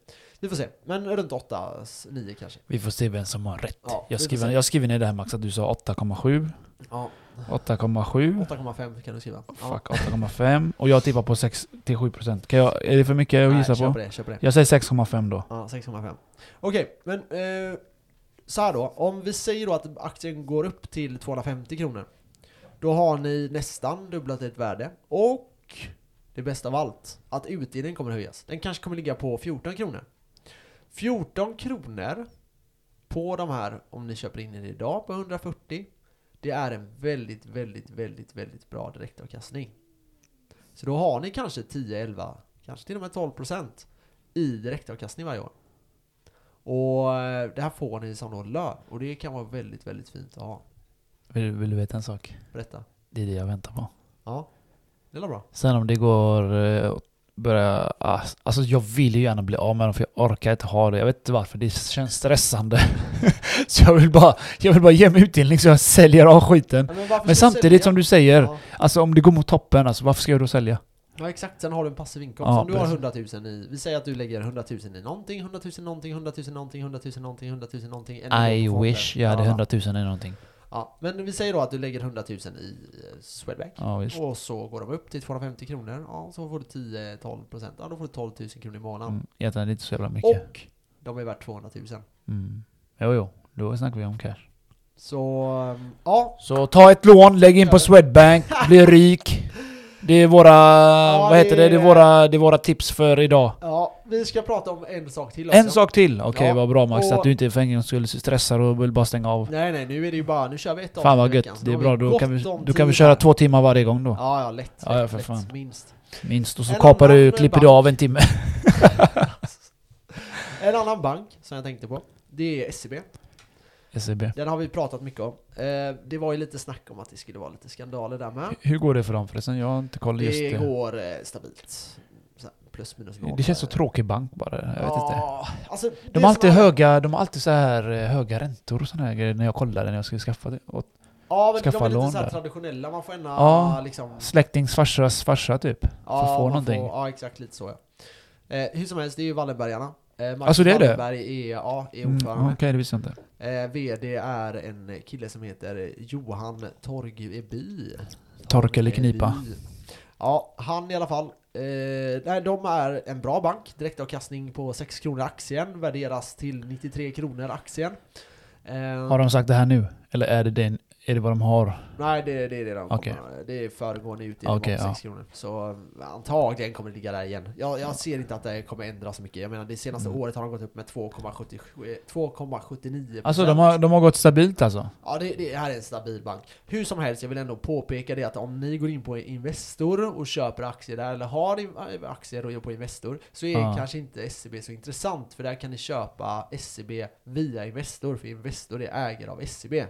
[SPEAKER 1] Vi får se. Men runt 8-9 kanske.
[SPEAKER 2] Vi får se vem som har rätt.
[SPEAKER 1] Ja, vi
[SPEAKER 2] jag,
[SPEAKER 1] får
[SPEAKER 2] skriver,
[SPEAKER 1] se.
[SPEAKER 2] jag skriver ner det här Max, att du sa 8,7.
[SPEAKER 1] Ja,
[SPEAKER 2] 8,7.
[SPEAKER 1] 8,5 kan du skriva. Ja.
[SPEAKER 2] Fuck, 8,5. Och jag tippar på 6-7%. Kan jag, är det för mycket att
[SPEAKER 1] Nej,
[SPEAKER 2] gissa
[SPEAKER 1] köp
[SPEAKER 2] på?
[SPEAKER 1] det, köp det.
[SPEAKER 2] Jag säger 6,5 då.
[SPEAKER 1] Ja, 6,5. Okej, men eh, så här då. Om vi säger då att aktien går upp till 250 kronor. Då har ni nästan dubblat ert värde. Och det bästa av allt, att utdelningen kommer höjas. Den kanske kommer ligga på 14 kronor. 14 kronor på de här, om ni köper in den idag på 140. Det är en väldigt, väldigt, väldigt, väldigt bra direktavkastning. Så då har ni kanske 10, 11, kanske till och med 12 procent i direktavkastning varje år. Och eh, det här får ni som då lön. Och det kan vara väldigt, väldigt fint att ha.
[SPEAKER 2] Vill, vill du veta en sak?
[SPEAKER 1] Berätta.
[SPEAKER 2] Det är det jag väntar på.
[SPEAKER 1] Ja, det är bra.
[SPEAKER 2] Sen om det går eh, att börja... ah, Alltså jag vill ju gärna bli av med dem för jag orkar inte ha det. Jag vet inte varför, det känns stressande. så jag vill, bara, jag vill bara ge mig utdelning så jag säljer av skiten.
[SPEAKER 1] Men, varför
[SPEAKER 2] Men
[SPEAKER 1] ska jag
[SPEAKER 2] samtidigt
[SPEAKER 1] sälja?
[SPEAKER 2] som du säger,
[SPEAKER 1] Ja.
[SPEAKER 2] alltså om det går mot toppen, alltså varför ska jag då sälja?
[SPEAKER 1] Ja exakt, sen har du en passiv inkomst.
[SPEAKER 2] Ja,
[SPEAKER 1] om du
[SPEAKER 2] precis.
[SPEAKER 1] har 100 000 i, vi säger att du lägger 100 000 i någonting, 100 000 någonting, 100 000 någonting, 100 000 någonting, 100 000 någonting. en
[SPEAKER 2] I
[SPEAKER 1] miljon på
[SPEAKER 2] wish
[SPEAKER 1] fonden.
[SPEAKER 2] jag hade
[SPEAKER 1] Ja,
[SPEAKER 2] 100 000 eller någonting.
[SPEAKER 1] Ja, men vi säger då att du lägger 100 000 i eh, Swedbank.
[SPEAKER 2] Ja, visst.
[SPEAKER 1] Och så går de upp till 250 kronor, ja, så får du 10-12 procent, ja då får du 12 000 kronor i månaden.
[SPEAKER 2] Mm, egentligen inte så jävla mycket.
[SPEAKER 1] Och de är värt 200 000.
[SPEAKER 2] Mm. Jo, jo, då snackar vi om cash.
[SPEAKER 1] Så, ehm, ja.
[SPEAKER 2] Så ta ett lån, lägg in på Swedbank, bli rik. Det är våra, vad heter det, det är våra, det är våra tips för idag.
[SPEAKER 1] ja, vi ska prata om en sak till också.
[SPEAKER 2] En sak till! Okej
[SPEAKER 1] Ja,
[SPEAKER 2] vad bra Max,
[SPEAKER 1] och-
[SPEAKER 2] att du inte för en gångs skull stressar och vill bara stänga av.
[SPEAKER 1] Nej nej, nu är det ju bara, nu kör vi ett
[SPEAKER 2] Fan vad
[SPEAKER 1] avsnitt i veckan,
[SPEAKER 2] gött,
[SPEAKER 1] så
[SPEAKER 2] det är
[SPEAKER 1] har
[SPEAKER 2] bra. Då kan
[SPEAKER 1] gott
[SPEAKER 2] vi,
[SPEAKER 1] om
[SPEAKER 2] då kan vi
[SPEAKER 1] tid
[SPEAKER 2] köra
[SPEAKER 1] här.
[SPEAKER 2] två timmar varje gång då.
[SPEAKER 1] Ja, ja, lätt.
[SPEAKER 2] Ja, ja,
[SPEAKER 1] lätt,
[SPEAKER 2] för
[SPEAKER 1] lätt,
[SPEAKER 2] fan.
[SPEAKER 1] Minst.
[SPEAKER 2] Minst, och så
[SPEAKER 1] En
[SPEAKER 2] kapar du,
[SPEAKER 1] annan
[SPEAKER 2] klipper
[SPEAKER 1] bank.
[SPEAKER 2] du av en timme.
[SPEAKER 1] En annan bank som jag tänkte på, det är SEB.
[SPEAKER 2] SEB.
[SPEAKER 1] Den har vi pratat mycket om. Eh, det var ju lite snack om att det skulle vara lite skandaler där med.
[SPEAKER 2] Hur går det för dem förresten? Jag har inte koll just
[SPEAKER 1] Det
[SPEAKER 2] det.
[SPEAKER 1] går eh, stabilt. Så här, Plus minus noll.
[SPEAKER 2] Det känns så tråkig bank bara, jag vet inte.
[SPEAKER 1] Ja, alltså,
[SPEAKER 2] De
[SPEAKER 1] det
[SPEAKER 2] har alltid
[SPEAKER 1] som är-
[SPEAKER 2] höga, de har alltid så här eh, höga räntor och såna här grejer när jag kollade när jag skulle skaffa det. Och
[SPEAKER 1] Ja, men de
[SPEAKER 2] skaffa
[SPEAKER 1] är lite
[SPEAKER 2] lån
[SPEAKER 1] så här
[SPEAKER 2] där.
[SPEAKER 1] traditionella. Man får ändå
[SPEAKER 2] Ja.
[SPEAKER 1] liksom...
[SPEAKER 2] släktings farsas farsa typ.
[SPEAKER 1] Ja,
[SPEAKER 2] få
[SPEAKER 1] man
[SPEAKER 2] någonting.
[SPEAKER 1] ja, exakt lite så ja. Eh, hur som helst, det är ju Wallenbergarna. Eh, Marcus
[SPEAKER 2] Alltså, det är det?
[SPEAKER 1] Wallenberg är, ja, är
[SPEAKER 2] Mm,
[SPEAKER 1] ordförande.
[SPEAKER 2] Okej, det visste jag inte.
[SPEAKER 1] Eh, VD är en kille som heter Johan Torgeby.
[SPEAKER 2] Tork eller knipa.
[SPEAKER 1] Torgeby. Ja, han i alla fall. Eh, nej, de är en bra bank. Direktavkastning på 6 kronor aktien. Värderas till 93 kronor aktien. Eh,
[SPEAKER 2] Har de sagt det här nu? Eller är det, den, är det vad de har?
[SPEAKER 1] Nej, det, det är det de kommer
[SPEAKER 2] Okej.
[SPEAKER 1] ha. Det är föregående utdelning
[SPEAKER 2] Okej,
[SPEAKER 1] på 6
[SPEAKER 2] ja.
[SPEAKER 1] kronor. Så eh, antagligen kommer det ligga där igen. Jag, jag ser inte att det kommer ändras så mycket. Jag menar, det senaste
[SPEAKER 2] Mm.
[SPEAKER 1] året har de gått upp med 2,77 2,79
[SPEAKER 2] Alltså de har, de har gått stabilt alltså?
[SPEAKER 1] Ja, det, det här är en stabil bank. Hur som helst, jag vill ändå påpeka det att om ni går in på Investor och köper aktier där, eller har i- aktier och gör på Investor, så är
[SPEAKER 2] Ja.
[SPEAKER 1] kanske inte SCB så intressant, för där kan ni köpa SCB via Investor, för Investor är ägare av SCB.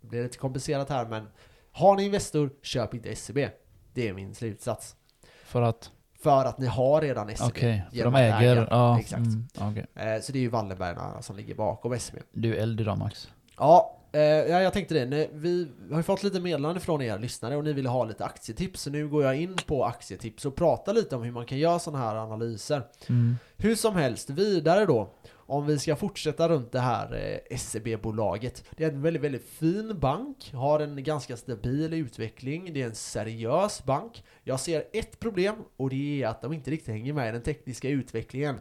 [SPEAKER 1] Det blir lite komplicerat här, men har ni Investor, köp inte SCB. Det är min slutsats.
[SPEAKER 2] För att,
[SPEAKER 1] För att ni har redan SCB.
[SPEAKER 2] okej, för
[SPEAKER 1] genom
[SPEAKER 2] de
[SPEAKER 1] att äga.
[SPEAKER 2] äger? Ja,
[SPEAKER 1] Exakt.
[SPEAKER 2] Mm, okej.
[SPEAKER 1] Eh, Så det är ju Wallenbergarna som ligger bakom E SCB.
[SPEAKER 2] Du är äldre idag Max.
[SPEAKER 1] Ja, eh, ja, jag tänkte det. Nu- Vi har ju fått lite meddelanden från er lyssnare och ni ville ha lite aktietips. Så nu går jag in på aktietips och pratar lite om hur man kan göra sådana här analyser.
[SPEAKER 2] Mm.
[SPEAKER 1] Hur som helst, vidare då. Om vi ska fortsätta runt det här eh, SEB-bolaget. Det är en väldigt, väldigt fin bank, har en ganska stabil utveckling, det är en seriös bank. Jag ser ett problem och det är att de inte riktigt hänger med i den tekniska utvecklingen.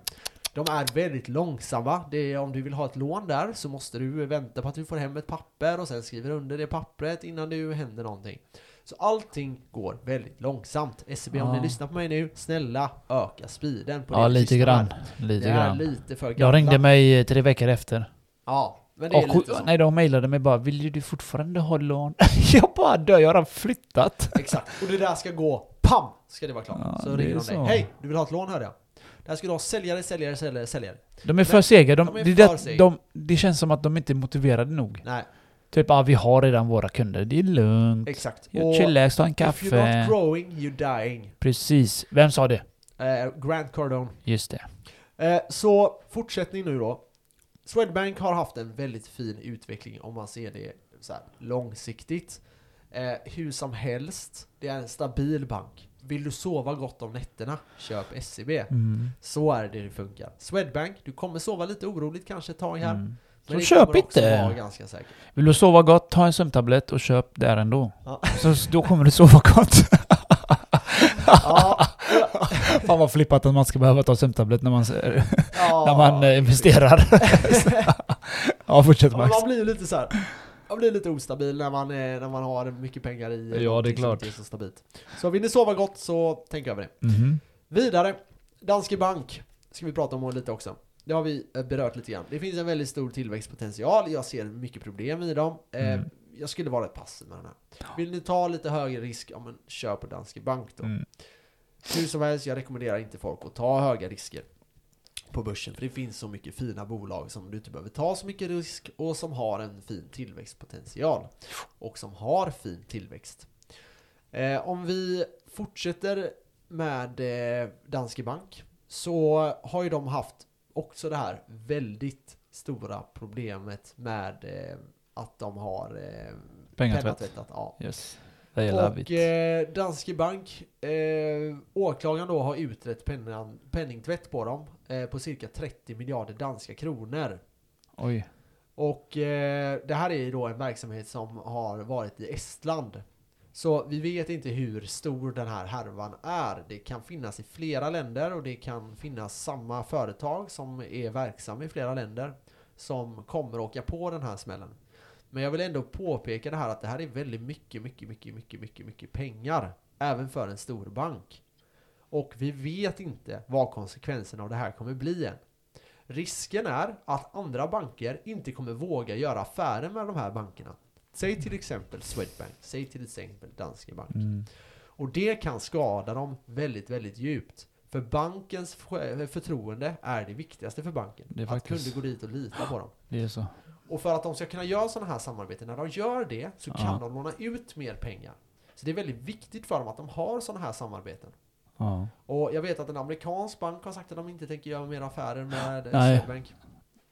[SPEAKER 1] De är väldigt långsamma. Det är, om du vill ha ett lån där så måste du vänta på att du får hem ett papper och sen skriver du under det pappret innan det händer någonting. Så allting går väldigt långsamt. SEB, om
[SPEAKER 2] Ja.
[SPEAKER 1] ni lyssnar på mig nu, snälla öka speeden på
[SPEAKER 2] Ja,
[SPEAKER 1] det
[SPEAKER 2] lite
[SPEAKER 1] sista
[SPEAKER 2] grann.
[SPEAKER 1] där.
[SPEAKER 2] Lite
[SPEAKER 1] Det är
[SPEAKER 2] grann.
[SPEAKER 1] lite för gamla.
[SPEAKER 2] De ringde mig eh, tre veckor efter.
[SPEAKER 1] Ja, men det är
[SPEAKER 2] Och,
[SPEAKER 1] lite så.
[SPEAKER 2] nej, de mejlade mig bara 'Vill du fortfarande ha lån?' jag bara dör, jag har redan flyttat.
[SPEAKER 1] Exakt. Och det där ska gå, PAM! Ska det vara klart.
[SPEAKER 2] Ja,
[SPEAKER 1] så
[SPEAKER 2] det
[SPEAKER 1] ringer
[SPEAKER 2] är
[SPEAKER 1] de dig.
[SPEAKER 2] så.
[SPEAKER 1] Hej! Du vill ha ett lån hörde jag. Där ska du ha säljare, säljare, säljare, säljare.
[SPEAKER 2] De är för
[SPEAKER 1] Men-
[SPEAKER 2] sega. De,
[SPEAKER 1] de är
[SPEAKER 2] det,
[SPEAKER 1] för
[SPEAKER 2] är det,
[SPEAKER 1] sega.
[SPEAKER 2] de, det känns som att de inte är motiverade nog.
[SPEAKER 1] Nej,
[SPEAKER 2] Typ ah, 'Vi har redan våra kunder, det är lugnt'
[SPEAKER 1] exakt.
[SPEAKER 2] Jag Chillax, ta en
[SPEAKER 1] if you're
[SPEAKER 2] kaffe.
[SPEAKER 1] not growing, you're dying.
[SPEAKER 2] Precis. Vem sa det?
[SPEAKER 1] Eh, Grant Cardone.
[SPEAKER 2] Just det.
[SPEAKER 1] Eh, så fortsättning nu då. Swedbank har haft en väldigt fin utveckling om man ser det så här långsiktigt. Eh, hur som helst, det är en stabil bank. Vill du sova gott om nätterna, köp E SEB.
[SPEAKER 2] Mm.
[SPEAKER 1] Så är det det funkar. Swedbank, du kommer sova lite oroligt kanske ett tag här.
[SPEAKER 2] Mm. Så
[SPEAKER 1] det
[SPEAKER 2] köp
[SPEAKER 1] kommer också
[SPEAKER 2] inte.
[SPEAKER 1] vara ganska säkert.
[SPEAKER 2] Vill du sova gott, ta en sömntablett och köp där ändå.
[SPEAKER 1] Ja.
[SPEAKER 2] Så s- då kommer du sova gott.
[SPEAKER 1] Ja,
[SPEAKER 2] Fan vad flippat att man ska behöva ta sömntablett när man, s-
[SPEAKER 1] ja.
[SPEAKER 2] när man eh, investerar. ja, fortsätt
[SPEAKER 1] Ja, men
[SPEAKER 2] Max.
[SPEAKER 1] man blir ju lite så här. Man blir lite ostabil när man, är, när man har mycket pengar i
[SPEAKER 2] det är
[SPEAKER 1] någonting som
[SPEAKER 2] klart.
[SPEAKER 1] inte är så stabilt. Så vill ni sova gott så tänk över det.
[SPEAKER 2] Mhm.
[SPEAKER 1] Vidare, Danske Bank ska vi prata om lite också. Det har vi eh, berört lite grann. Det finns en väldigt stor tillväxtpotential. Jag ser mycket problem i dem. Eh,
[SPEAKER 2] Mm.
[SPEAKER 1] Jag skulle vara rätt passiv med den här. Vill ni ta lite högre risk, ja men kör på Danske Bank då.
[SPEAKER 2] Mm.
[SPEAKER 1] Hur som helst, jag rekommenderar inte folk att ta höga risker. på börsen. För det finns så mycket fina bolag som du inte behöver ta så mycket risk och som har en fin tillväxtpotential. Och som har fin tillväxt. Eh, om vi fortsätter med eh, Danske Bank så har ju de haft också det här väldigt stora problemet med eh, att de har eh,
[SPEAKER 2] Pengatvätt.
[SPEAKER 1] Ja.
[SPEAKER 2] Yes. They love
[SPEAKER 1] Och
[SPEAKER 2] it.
[SPEAKER 1] eh, Danske Bank, eh, åklagaren då har utrett pennan, penningtvätt på dem eh, på cirka 30 miljarder danska kronor.
[SPEAKER 2] Oj.
[SPEAKER 1] Och eh, det här är ju då en verksamhet som har varit i Estland. Så vi vet inte hur stor den här härvan är. Det kan finnas i flera länder och det kan finnas samma företag som är verksamma i flera länder som kommer åka på den här smällen. Men jag vill ändå påpeka det här att det här är väldigt mycket, mycket, mycket, mycket, mycket, mycket pengar. Även för en stor bank. Och vi vet inte vad konsekvenserna av det här kommer bli än. Risken är att andra banker inte kommer våga göra affärer med de här bankerna. Säg till exempel Swedbank, säg till exempel Danske Bank.
[SPEAKER 2] Mm.
[SPEAKER 1] Och det kan skada dem väldigt, väldigt djupt. För bankens f- förtroende är det viktigaste för banken.
[SPEAKER 2] Det är
[SPEAKER 1] att
[SPEAKER 2] faktiskt-
[SPEAKER 1] kunder går dit och litar på dem.
[SPEAKER 2] Det är så.
[SPEAKER 1] Och för att de ska kunna göra sådana här samarbeten, när de gör det så
[SPEAKER 2] Ja.
[SPEAKER 1] kan de låna ut mer pengar. Så det är väldigt viktigt för dem att de har sådana här samarbeten.
[SPEAKER 2] Ja.
[SPEAKER 1] Och jag vet att en amerikansk bank har sagt att de inte tänker göra mer affärer med eh,
[SPEAKER 2] Nej.
[SPEAKER 1] Swedbank.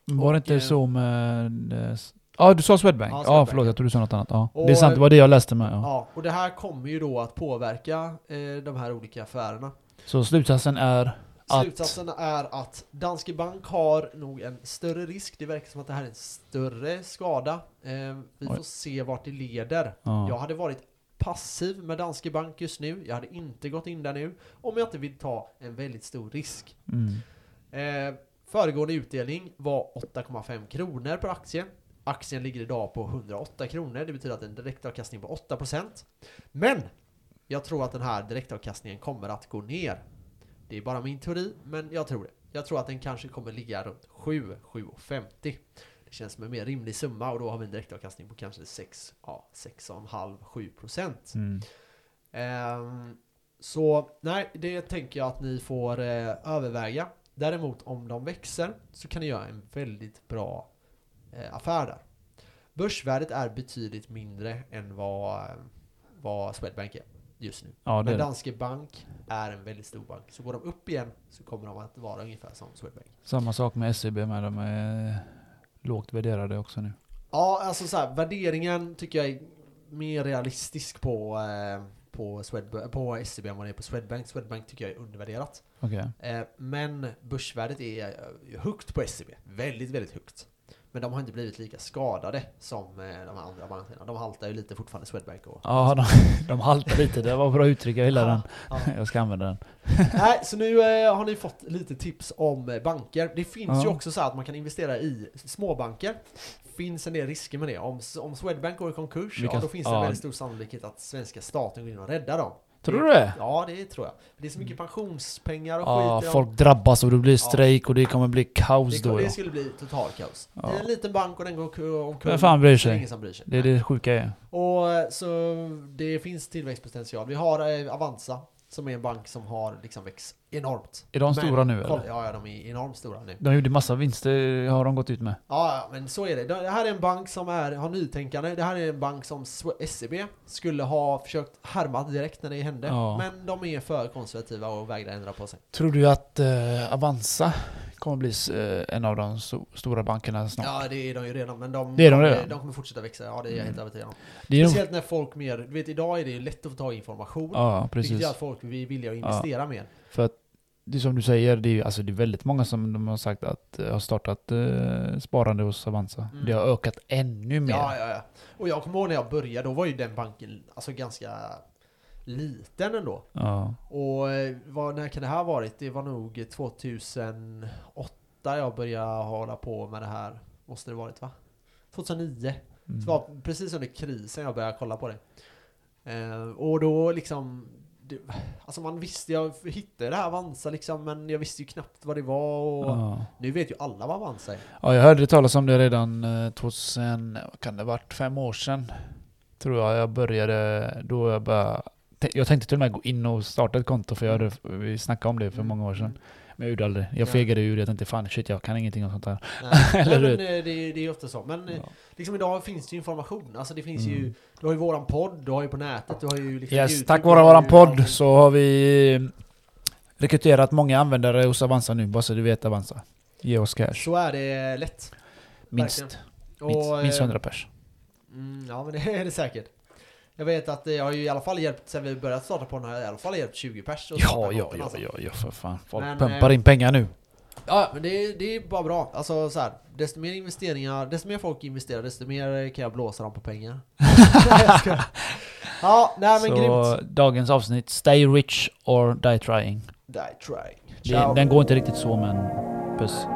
[SPEAKER 2] Var det inte
[SPEAKER 1] eh,
[SPEAKER 2] så med... eh, s- Ja, du sa Swedbank.
[SPEAKER 1] Ja,
[SPEAKER 2] Ja,
[SPEAKER 1] Swedbank,
[SPEAKER 2] förlåt.
[SPEAKER 1] ja.
[SPEAKER 2] Jag trodde du sa något annat. Ja.
[SPEAKER 1] Och-
[SPEAKER 2] det är sant, det var det jag läste med. Ja.
[SPEAKER 1] Ja, och det här kommer ju då att påverka eh, de här olika affärerna.
[SPEAKER 2] Så slutsatsen är att...
[SPEAKER 1] Slutsatsen är att Danske Bank har nog en större risk. Det verkar som att det här är en större skada. Eh, vi
[SPEAKER 2] Oj.
[SPEAKER 1] får se vart det leder.
[SPEAKER 2] Ja.
[SPEAKER 1] Jag hade varit passiv med Danske Bank just nu. Jag hade inte gått in där nu om jag inte vill ta en väldigt stor risk.
[SPEAKER 2] Mm.
[SPEAKER 1] Eh, föregående utdelning var 8,5 kronor per aktie. Aktien ligger idag på 108 kronor. Det betyder att en direktavkastning på 8%. Men jag tror att den här direktavkastningen kommer att gå ner. Det är bara min teori, men jag tror det. Jag tror att den kanske kommer ligga runt 7, 7,50. Det känns som en mer rimlig summa och då har vi en direktavkastning på kanske 6, ja 6,5, 7%.
[SPEAKER 2] Mm.
[SPEAKER 1] Ehm, så nej, det tänker jag att ni får eh, överväga. Däremot om de växer så kan ni göra en väldigt bra eh, affär där. Börsvärdet är betydligt mindre än vad, eh, vad Swedbank är just nu.
[SPEAKER 2] ja, det är
[SPEAKER 1] Men
[SPEAKER 2] det.
[SPEAKER 1] Danske Bank är en väldigt stor bank. Så går de upp igen så kommer de att vara ungefär som Swedbank.
[SPEAKER 2] Samma sak med SEB med. De är lågt värderade också nu.
[SPEAKER 1] Ja, alltså så här, värderingen tycker jag är mer realistisk på, eh, på, Swedb- på SEB än vad det är på Swedbank. Swedbank tycker jag är undervärderat.
[SPEAKER 2] Okej.
[SPEAKER 1] Eh, Men börsvärdet är eh, högt på SCB. Väldigt, väldigt högt. Men de har inte blivit lika skadade som eh, de här andra bankerna. De haltar ju lite fortfarande Swedbank och...
[SPEAKER 2] Ja, de, de haltar lite. Det var bra uttryck. Jag gillar den.
[SPEAKER 1] Ja.
[SPEAKER 2] Jag ska använda den.
[SPEAKER 1] Nej, så nu eh, har ni fått lite tips om eh, banker. Det finns
[SPEAKER 2] Ja.
[SPEAKER 1] ju också så här att man kan investera i småbanker. Finns en del risker med det. Om, om Swedbank går i konkurs,
[SPEAKER 2] Vilka-
[SPEAKER 1] ja, då finns det
[SPEAKER 2] ja.
[SPEAKER 1] en väldigt stor sannolikhet att svenska staten går in och räddar dem.
[SPEAKER 2] Tror du det?
[SPEAKER 1] Ja, det tror jag. Det är så mycket pensionspengar och
[SPEAKER 2] Ja,
[SPEAKER 1] skit i dem.
[SPEAKER 2] folk drabbas och det blir
[SPEAKER 1] Ja.
[SPEAKER 2] strejk och det kommer bli kaos
[SPEAKER 1] Det,
[SPEAKER 2] då.
[SPEAKER 1] det
[SPEAKER 2] Ja.
[SPEAKER 1] skulle bli total kaos.
[SPEAKER 2] Ja.
[SPEAKER 1] Det är en liten bank och den går ku- omkull.
[SPEAKER 2] Vem fan bryr
[SPEAKER 1] Det är
[SPEAKER 2] sig?
[SPEAKER 1] ingen som bryr sig.
[SPEAKER 2] Det är det sjuka är.
[SPEAKER 1] Och eh, så det finns tillväxtpotential. Vi har eh, Avanza som är en bank som har liksom växt enormt.
[SPEAKER 2] Är de
[SPEAKER 1] Men-
[SPEAKER 2] stora nu
[SPEAKER 1] Kolla,
[SPEAKER 2] eller?
[SPEAKER 1] ja, ja, de är enormt stora nu.
[SPEAKER 2] De gjorde massa vinster har de gått ut med.
[SPEAKER 1] Ja, ja, men så är det. Det här är en bank som är, har nytänkande. Det här är en bank som Swe- SEB skulle ha försökt härma direkt när det hände.
[SPEAKER 2] Ja.
[SPEAKER 1] Men de är för konservativa och vägrar ändra på sig.
[SPEAKER 2] Tror du att eh, Avanza kommer bli eh, en av de so- stora bankerna snart?
[SPEAKER 1] Ja, det är de ju redan. Men de,
[SPEAKER 2] Det är de
[SPEAKER 1] kommer-
[SPEAKER 2] redan.
[SPEAKER 1] de kommer fortsätta växa. Ja, det är jag helt övertygad om.
[SPEAKER 2] det är nog,
[SPEAKER 1] Speciellt när folk mer, du vet idag är det ju lätt att få tag i information.
[SPEAKER 2] ja, precis.
[SPEAKER 1] Vilket gör att folk vill vilja att investera mer.
[SPEAKER 2] För att det är som du säger, det är, ju- alltså, det är väldigt många som de har sagt att eh, har startat eh, sparande hos Avanza.
[SPEAKER 1] Mm.
[SPEAKER 2] Det har ökat ännu mer.
[SPEAKER 1] Ja, ja, ja. Och jag kommer ihåg när jag började, då var ju den banken alltså ganska liten ändå.
[SPEAKER 2] Ja.
[SPEAKER 1] Och eh, vad, när kan det här ha varit? Det var nog 2008 jag började hålla på med det här. Måste det varit va? 2009.
[SPEAKER 2] Mm.
[SPEAKER 1] Det var precis under krisen jag började kolla på det. Eh, och då liksom... Det, alltså man visste, jag hittade det här Avanza liksom, men jag visste ju knappt vad det var och...
[SPEAKER 2] Ja.
[SPEAKER 1] Nu vet ju alla vad Avanza är.
[SPEAKER 2] ja, jag hörde talas om det redan eh, 2000, vad kan det ha varit, fem år sedan. Tror jag jag började, då
[SPEAKER 1] Mm.
[SPEAKER 2] jag bara, tän- jag tänkte till och med gå in och starta ett konto för jag hade, vi snackade om det för många år sedan. Men jag gjorde aldrig det. Jag
[SPEAKER 1] Nej.
[SPEAKER 2] fegade ur. Jag tänkte fan shit, jag kan ingenting om sånt här.
[SPEAKER 1] Nej.
[SPEAKER 2] Eller
[SPEAKER 1] Nej,
[SPEAKER 2] hur?
[SPEAKER 1] men, eh, det, det är ofta så. Men eh,
[SPEAKER 2] Ja.
[SPEAKER 1] liksom idag finns det ju information. Alltså det finns
[SPEAKER 2] Mm.
[SPEAKER 1] ju, du har ju våran podd, du har ju på nätet, du har ju liksom
[SPEAKER 2] Yes,
[SPEAKER 1] YouTube,
[SPEAKER 2] tack
[SPEAKER 1] du har
[SPEAKER 2] vare våran
[SPEAKER 1] ju
[SPEAKER 2] podd
[SPEAKER 1] allting.
[SPEAKER 2] så har vi rekryterat många användare hos Avanza nu. Bara så du vet Avanza. Ge oss cash.
[SPEAKER 1] Så är det lätt.
[SPEAKER 2] Minst.
[SPEAKER 1] verkligen.
[SPEAKER 2] Minst, minst
[SPEAKER 1] eh,
[SPEAKER 2] 100 pers.
[SPEAKER 1] Mm, ja men det är det säkert. Jag vet att det har ju i alla fall hjälpt, sen vi började starta podden har jag i alla fall hjälpt 20 pers. att
[SPEAKER 2] Ja,
[SPEAKER 1] starta
[SPEAKER 2] ja,
[SPEAKER 1] podden,
[SPEAKER 2] ja,
[SPEAKER 1] alltså.
[SPEAKER 2] ja, ja för fan. Folk
[SPEAKER 1] Men,
[SPEAKER 2] pumpar
[SPEAKER 1] eh,
[SPEAKER 2] in pengar nu.
[SPEAKER 1] Ja, men det, är- det är bara bra. Alltså så här, desto mer investeringar, desto mer folk investerar, desto mer kan jag blåsa dem på pengar. Jag skojar. ja, nej men
[SPEAKER 2] så
[SPEAKER 1] grymt.
[SPEAKER 2] dagens avsnitt, Stay Rich or Die Trying.
[SPEAKER 1] Die trying.
[SPEAKER 2] Det, den går inte riktigt så men puss.